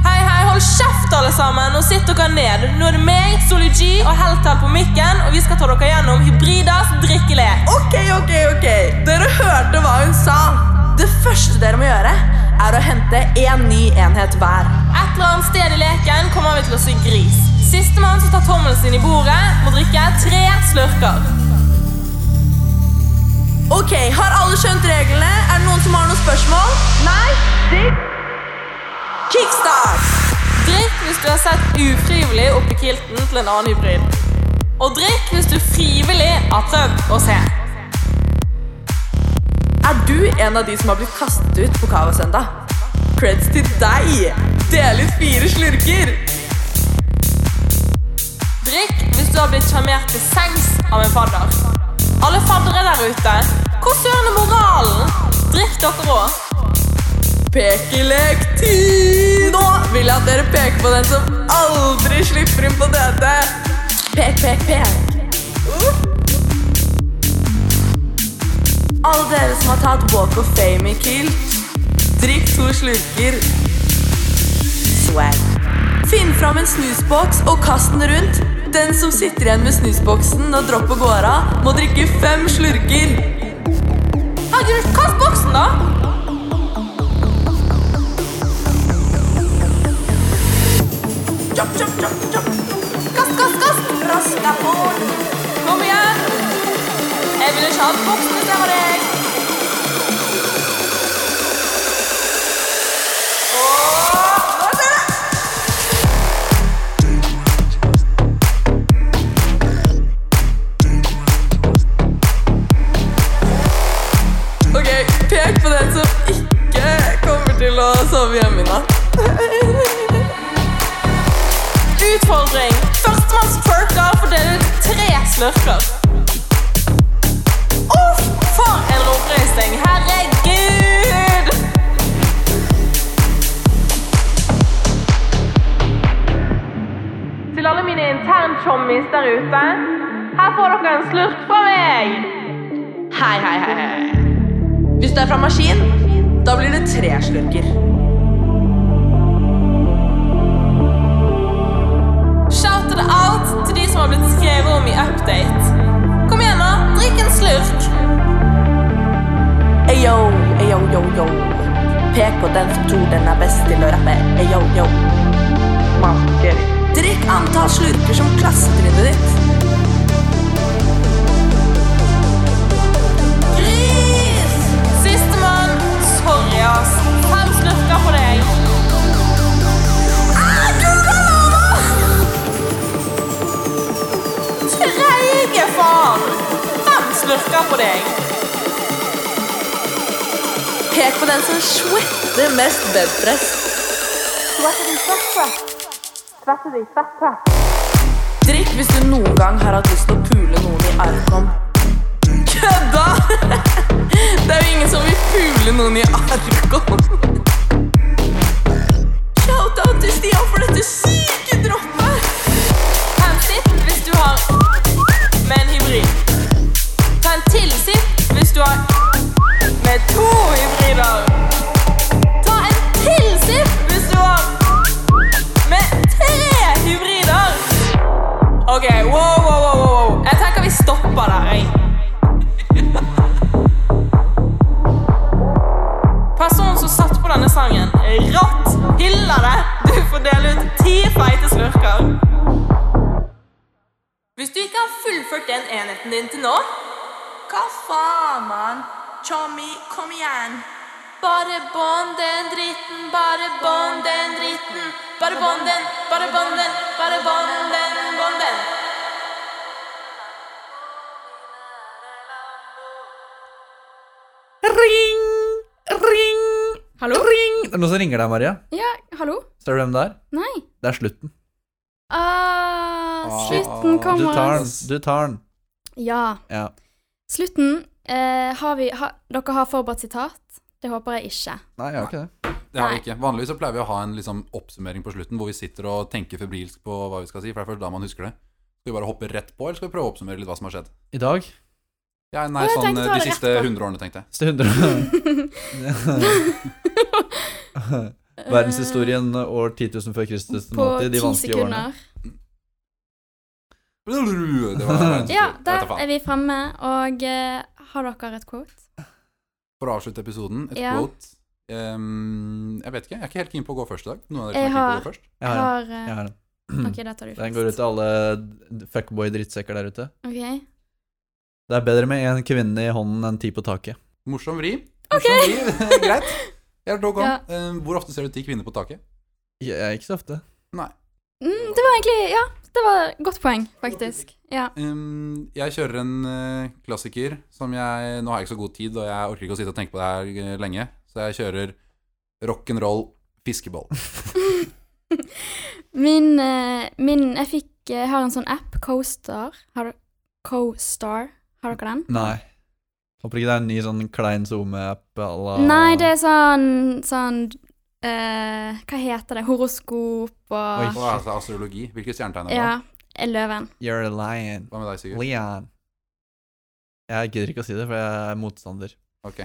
[SPEAKER 4] Hei, hei, hold kjeft alle sammen, og sitt dere ned. Nå er det meg, Soli G og Heltel på mikken, og vi skal ta dere gjennom hybridas drikkelek. Ok, ok, ok. Dere hørte hva hun sa. Det første dere må gjøre, er å hente én ny enhet hver. Et eller annet sted i leken kommer vi til å si gris. Sistemann som tar tommelen sin i bordet, må drikke tre slurker. Ok, har alle skjønt reglene? Er det noen som har noen spørsmål? Nei? Kickstart! Drikk hvis du har sett ufrivillig oppi kilten til en annen hybrid. Og drikk hvis du frivillig har prøvd å se. Er du en av de som har blitt kastet ut på Kavasøndag? Creds til deg! Del ut fire slurker! Drikk hvis du har blitt sjarmert til sengs av en fadder. Alle faddere der ute, hvor søren er moralen? Drikk dere òg. Pekelek-tid! Nå vil jeg at dere peker på den som aldri slipper inn på DT. Pek, pek, pek. Uh. Alle dere som har tatt Walk of Fame i kilt, drikk to slurker. Swag. Finn fram en snusboks og kast den rundt. Den som sitter igjen med snusboksen og dropper går av, må drikke fem slurker. Ja, du, Kast boksen, da! Kjapp, kjapp, kjapp, kjapp. Kast, kast, kast! Rask deg på! Kom igjen! Jeg vil ikke ha boksen hvis jeg var deg. Og nå ser jeg! Ok, pek på den som ikke kommer til å sove hjemme i natt. Utfordring. Førstemanns perker fordeler ut tre slurker. Uff, for en ropreising. Herregud! Til alle mine interntjommis der ute, her får dere en slurk fra meg. Hei, hei, hei, hei. Hvis du er fra maskin, da blir det tre slurker. Shouted out til de som har blitt skrevet om i Update. Kom igjen nå, drikk en slurk. Ayo, ayo, yo, yo. Pek på den som tror den er best til å rappe. Ayo, yo. Masker. Drikk antall slurker som klassetrinnet ditt. Gris! Sistemann. Sorry, ass. Fem slurker for deg. Ah, Gud, hallo! Treige faen! Hvem slurker på deg? Pek på den som svetter mest bedpress. Drikk hvis du noen gang har hatt lyst til å pule noen i Arkom. Kødda! [LAUGHS] Det er jo ingen som vil pule noen i Arkom. Shout-out til Stian for dette syke droppet! Fem rått! Hyller det! Du får dele ut ti feite slurker. Hvis du ikke har fullført den enheten din til nå Hva faen, mann? Tommy, kom igjen. Bare bånd den dritten, bare bånd den dritten. Bare bånd den, bare bånd den, bare bånd den, bånd den.
[SPEAKER 2] Ring! Ring!
[SPEAKER 1] Hallo?
[SPEAKER 2] Ring! Det er noen som ringer deg, Maria.
[SPEAKER 1] Ja, hallo?
[SPEAKER 2] Ser du hvem det er?
[SPEAKER 1] Nei.
[SPEAKER 2] Det er slutten.
[SPEAKER 1] Ah,
[SPEAKER 3] Ah,
[SPEAKER 1] slutten
[SPEAKER 3] du
[SPEAKER 2] Du
[SPEAKER 1] kommer.
[SPEAKER 2] tar den. Du tar den.
[SPEAKER 1] Ja.
[SPEAKER 2] Ja.
[SPEAKER 1] Slutten eh, har vi ha, Dere har forberedt sitat? Det håper jeg ikke.
[SPEAKER 2] Nei, jeg har ikke det.
[SPEAKER 3] Det har vi ikke. Vanligvis så pleier vi å ha en liksom, oppsummering på slutten, hvor vi sitter og tenker febrilsk på hva vi skal si, for det er først da man husker det. Skal vi bare hoppe rett på, eller skal vi prøve å oppsummere litt hva som har skjedd?
[SPEAKER 2] I dag
[SPEAKER 3] Ja, nei,
[SPEAKER 1] Ja, jeg
[SPEAKER 3] sånn
[SPEAKER 1] tenkte
[SPEAKER 3] eh,
[SPEAKER 1] å ta
[SPEAKER 3] de
[SPEAKER 1] det
[SPEAKER 3] siste
[SPEAKER 1] rett på.
[SPEAKER 3] 100 årene, tenkte jeg.
[SPEAKER 2] Siste
[SPEAKER 1] [LAUGHS]
[SPEAKER 2] 100 [LAUGHS] Verdenshistorien år 10 000 før Kristus til
[SPEAKER 1] Eh, På
[SPEAKER 2] nåtid,
[SPEAKER 1] ti
[SPEAKER 2] de vanskelige årene.
[SPEAKER 1] sekunder. [LAUGHS]
[SPEAKER 3] Det var verdens-
[SPEAKER 1] Ja,
[SPEAKER 3] jeg vet da
[SPEAKER 1] der
[SPEAKER 3] faen.
[SPEAKER 1] er vi fremme, og eh, har dere et quote?
[SPEAKER 3] For å avslutte episoden, et
[SPEAKER 1] Ja.
[SPEAKER 3] quote Ehm, Jeg vet ikke, jeg er ikke helt keen på å gå først i dag. Noen av dere
[SPEAKER 1] Jeg
[SPEAKER 3] som er keen på å
[SPEAKER 1] har-
[SPEAKER 3] gå først?
[SPEAKER 2] Jeg
[SPEAKER 1] Jeg
[SPEAKER 2] har den.
[SPEAKER 1] har eh,
[SPEAKER 2] Jeg har den.
[SPEAKER 1] OK, da tar du
[SPEAKER 2] [CLEARS THROAT] Den går ut
[SPEAKER 1] først.
[SPEAKER 2] til alle fuckboy-drittsekker der ute.
[SPEAKER 1] Ok.
[SPEAKER 2] Det er bedre med én kvinne i hånden enn ti på taket.
[SPEAKER 3] Morsom vri. Morsom vri. [LAUGHS] Greit. Jeg er dog on.
[SPEAKER 1] Ja.
[SPEAKER 3] Ehm, Hvor ofte ser du ti kvinner på taket?
[SPEAKER 2] Jeg er ikke så ofte.
[SPEAKER 1] Mm, det var egentlig Ja, det var et godt poeng, faktisk. Ja.
[SPEAKER 3] Ehm, jeg kjører en eh, klassiker som jeg Nå har jeg ikke så god tid, og jeg orker ikke å sitte og tenke på det her eh, lenge, så jeg kjører rock'n'roll fiskeboll.
[SPEAKER 1] Min, eh, min Jeg fikk Jeg har en sånn app, CoStar. Har du CoStar? Har dere den?
[SPEAKER 2] Nei. Håper ikke det er en ny sånn klein SoMe-app à la
[SPEAKER 1] Nei, det er sånn, sånn eh, Hva heter det? Horoskop og
[SPEAKER 2] Oi.
[SPEAKER 3] Og altså astrologi. Hvilke stjernetegn er det?
[SPEAKER 1] Ah. Ja. er
[SPEAKER 2] [LAUGHS]
[SPEAKER 1] Løven.
[SPEAKER 2] You're a lion.
[SPEAKER 3] Hva med deg, Sigurd?
[SPEAKER 2] Leon. Jeg gidder ikke å si det, for jeg er motstander.
[SPEAKER 3] Ok.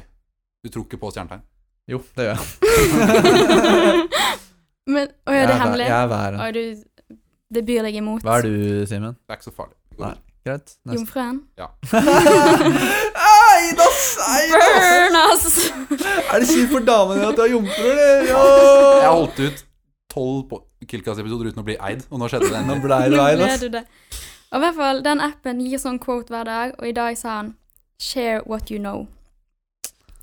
[SPEAKER 3] Du tror ikke på stjernetegn?
[SPEAKER 2] Jo, det gjør jeg.
[SPEAKER 1] Men Å ja, det
[SPEAKER 2] Jeg er
[SPEAKER 1] er
[SPEAKER 2] væ-
[SPEAKER 1] hemmelig?
[SPEAKER 2] Jeg er væren.
[SPEAKER 1] Oi, du Det byr deg imot.
[SPEAKER 2] Hva er du, Simen?
[SPEAKER 3] Det er ikke så farlig. Det går
[SPEAKER 2] Nei.
[SPEAKER 3] bra.
[SPEAKER 2] Greit.
[SPEAKER 1] [LAUGHS]
[SPEAKER 2] Neste.
[SPEAKER 1] Jomfruen.
[SPEAKER 2] Eid, ass! Eid, ass!
[SPEAKER 1] Burn, ass!
[SPEAKER 2] altså! Er det kjipt for damene at du er jomfru,
[SPEAKER 1] [LAUGHS]
[SPEAKER 2] eller?
[SPEAKER 3] Jeg har
[SPEAKER 2] Ja.
[SPEAKER 3] holdt ut tolv Killcast-episoder uten å bli eid, og nå skjedde det
[SPEAKER 2] Nå
[SPEAKER 3] ennå.
[SPEAKER 2] blei
[SPEAKER 1] Nå
[SPEAKER 2] du eid,
[SPEAKER 1] ble
[SPEAKER 2] ass.
[SPEAKER 1] du det. Og i hvert fall, den appen gir sånn quote hver dag, og i dag sa han 'share what you know'.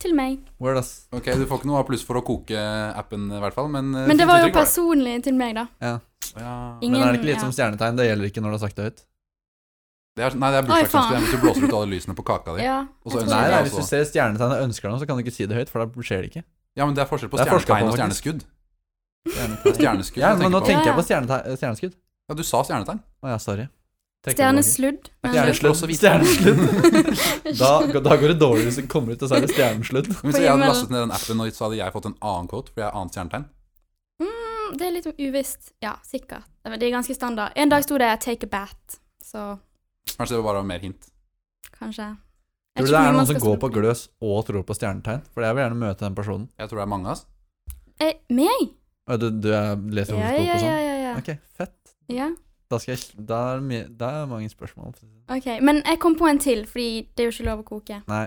[SPEAKER 1] Til meg.
[SPEAKER 2] Word, ass.
[SPEAKER 3] Ok, du får ikke noe av pluss for å koke appen, i hvert fall, men eh,
[SPEAKER 1] Men det
[SPEAKER 3] fint
[SPEAKER 1] var jo
[SPEAKER 3] uttrykk
[SPEAKER 1] personlig til meg, da.
[SPEAKER 3] det. Ja.
[SPEAKER 1] Ingen
[SPEAKER 2] Men er det ikke
[SPEAKER 1] ja.
[SPEAKER 2] litt som stjernetegn? Det gjelder ikke når du har sagt det høyt.
[SPEAKER 3] Det er, nei, det er
[SPEAKER 1] Oi, faen.
[SPEAKER 3] bursdagsønske. Hvis du blåser ut alle lysene på kaka di. Ja,
[SPEAKER 1] Ja, jeg
[SPEAKER 3] Og så
[SPEAKER 1] tror
[SPEAKER 2] Nei,
[SPEAKER 3] ønsker
[SPEAKER 1] det.
[SPEAKER 2] nei,
[SPEAKER 3] jeg
[SPEAKER 2] hvis
[SPEAKER 3] også.
[SPEAKER 2] du ser stjernetegn og ønsker noe, så kan du ikke si det høyt, for da skjer det ikke.
[SPEAKER 3] men det er forskjell på
[SPEAKER 2] Det er forsket
[SPEAKER 3] stjernetegn
[SPEAKER 2] på,
[SPEAKER 3] og
[SPEAKER 2] faktisk.
[SPEAKER 3] stjerneskudd.
[SPEAKER 2] Stjernetegn.
[SPEAKER 3] Stjerneskudd,
[SPEAKER 2] Ja, men nå
[SPEAKER 3] jeg tenker på.
[SPEAKER 2] tenker jeg på stjernetegn- stjerneskudd.
[SPEAKER 3] Ja, du sa stjernetegn.
[SPEAKER 2] Å ja, sorry. Teknologi.
[SPEAKER 1] Stjernesludd.
[SPEAKER 3] Stjernes-
[SPEAKER 2] Stjernesludd.
[SPEAKER 3] Også hvite.
[SPEAKER 1] [LAUGHS]
[SPEAKER 2] Stjernesludd. Da, da går det dårlig hvis du kommer ut og så er det stjernesludd.
[SPEAKER 3] Men
[SPEAKER 1] På
[SPEAKER 3] Hvis jeg hadde
[SPEAKER 1] himmelen.
[SPEAKER 3] lastet ned den appen, og så hadde jeg fått en annen quote, for jeg er annet stjernetegn.
[SPEAKER 1] Mm, det er litt uvisst. Ja, sikkert. Men Det er ganske standard. En dag sto det 'take a bat', så
[SPEAKER 3] Kanskje det var bare mer hint.
[SPEAKER 1] kanskje Jeg vet
[SPEAKER 2] Tror du
[SPEAKER 1] ikke
[SPEAKER 2] det
[SPEAKER 1] hvor
[SPEAKER 2] er
[SPEAKER 1] mye man
[SPEAKER 2] noen som
[SPEAKER 1] skal
[SPEAKER 2] går
[SPEAKER 1] stole
[SPEAKER 2] på gløs og tror på stjernetegn? For jeg vil gjerne møte den personen.
[SPEAKER 3] Jeg tror det er mange,
[SPEAKER 1] [LAUGHS]
[SPEAKER 3] ass.
[SPEAKER 1] Eh, meg?
[SPEAKER 2] Å, Du, du er leser
[SPEAKER 1] Ja, ja,
[SPEAKER 2] horoskop og
[SPEAKER 1] ja.
[SPEAKER 2] sånn?
[SPEAKER 1] ja, ja.
[SPEAKER 2] Ok, fett.
[SPEAKER 1] ja.
[SPEAKER 2] Da, skal jeg, da, er det mye- da er det mange spørsmål.
[SPEAKER 1] Ok, Men jeg kom på en til, fordi det er jo ikke lov å koke. [LAUGHS]
[SPEAKER 2] Nei.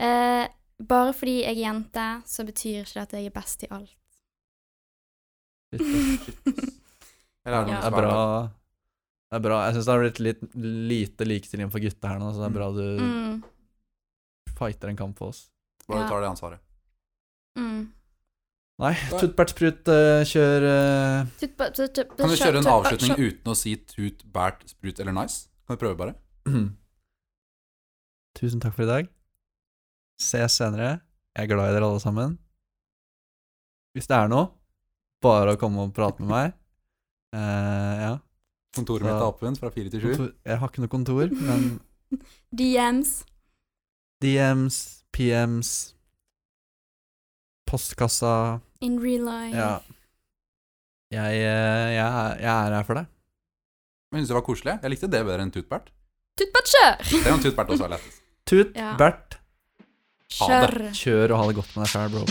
[SPEAKER 1] Eh, bare fordi jeg er jente, så betyr ikke det at jeg er best i alt.
[SPEAKER 2] Litt.
[SPEAKER 3] Eller
[SPEAKER 1] Ja.
[SPEAKER 3] er det noen
[SPEAKER 2] Det er
[SPEAKER 3] som er
[SPEAKER 2] bra. Det er bra. Jeg syns det har blitt litt lite likestilling for gutta her nå, så det er bra du
[SPEAKER 1] Mm,
[SPEAKER 2] fighter en kamp for oss.
[SPEAKER 3] Bare
[SPEAKER 1] Ja.
[SPEAKER 3] tar det ansvaret.
[SPEAKER 1] mm.
[SPEAKER 2] Nei, tuttbertsprut, eh, kjør eh,
[SPEAKER 1] Tut- ba- tut- tut-
[SPEAKER 3] Kan vi
[SPEAKER 1] tut-
[SPEAKER 3] kjøre en
[SPEAKER 1] tut-
[SPEAKER 3] avslutning
[SPEAKER 1] tut-
[SPEAKER 3] uten å si tut, bært, sprut eller nice? Kan vi prøve bare?
[SPEAKER 2] [CLEARS THROAT] Tusen takk for i dag. Ses senere. Jeg er glad i dere alle sammen. Hvis det er noe, bare å komme og prate med meg. [LAUGHS] Eh, ja.
[SPEAKER 3] Kontoret
[SPEAKER 2] Så-
[SPEAKER 3] mitt er åpent fra fire til sju.
[SPEAKER 2] Kontor, jeg har ikke noe kontor, men
[SPEAKER 1] DMs.
[SPEAKER 2] DMs, PMs, postkassa
[SPEAKER 1] In real life.
[SPEAKER 2] Ja. Jeg, eh, jeg, er- jeg er her for deg.
[SPEAKER 3] Men jeg synes det var koselig. Jeg likte det bedre enn tutbert.
[SPEAKER 1] Tuttbattkjør!
[SPEAKER 3] Det er jo tutbert også er lettest.
[SPEAKER 2] Tut,
[SPEAKER 1] Ja.
[SPEAKER 2] Bert,
[SPEAKER 3] Ha det.
[SPEAKER 1] Kjør.
[SPEAKER 2] kjør og ha det godt med deg sjæl, bro.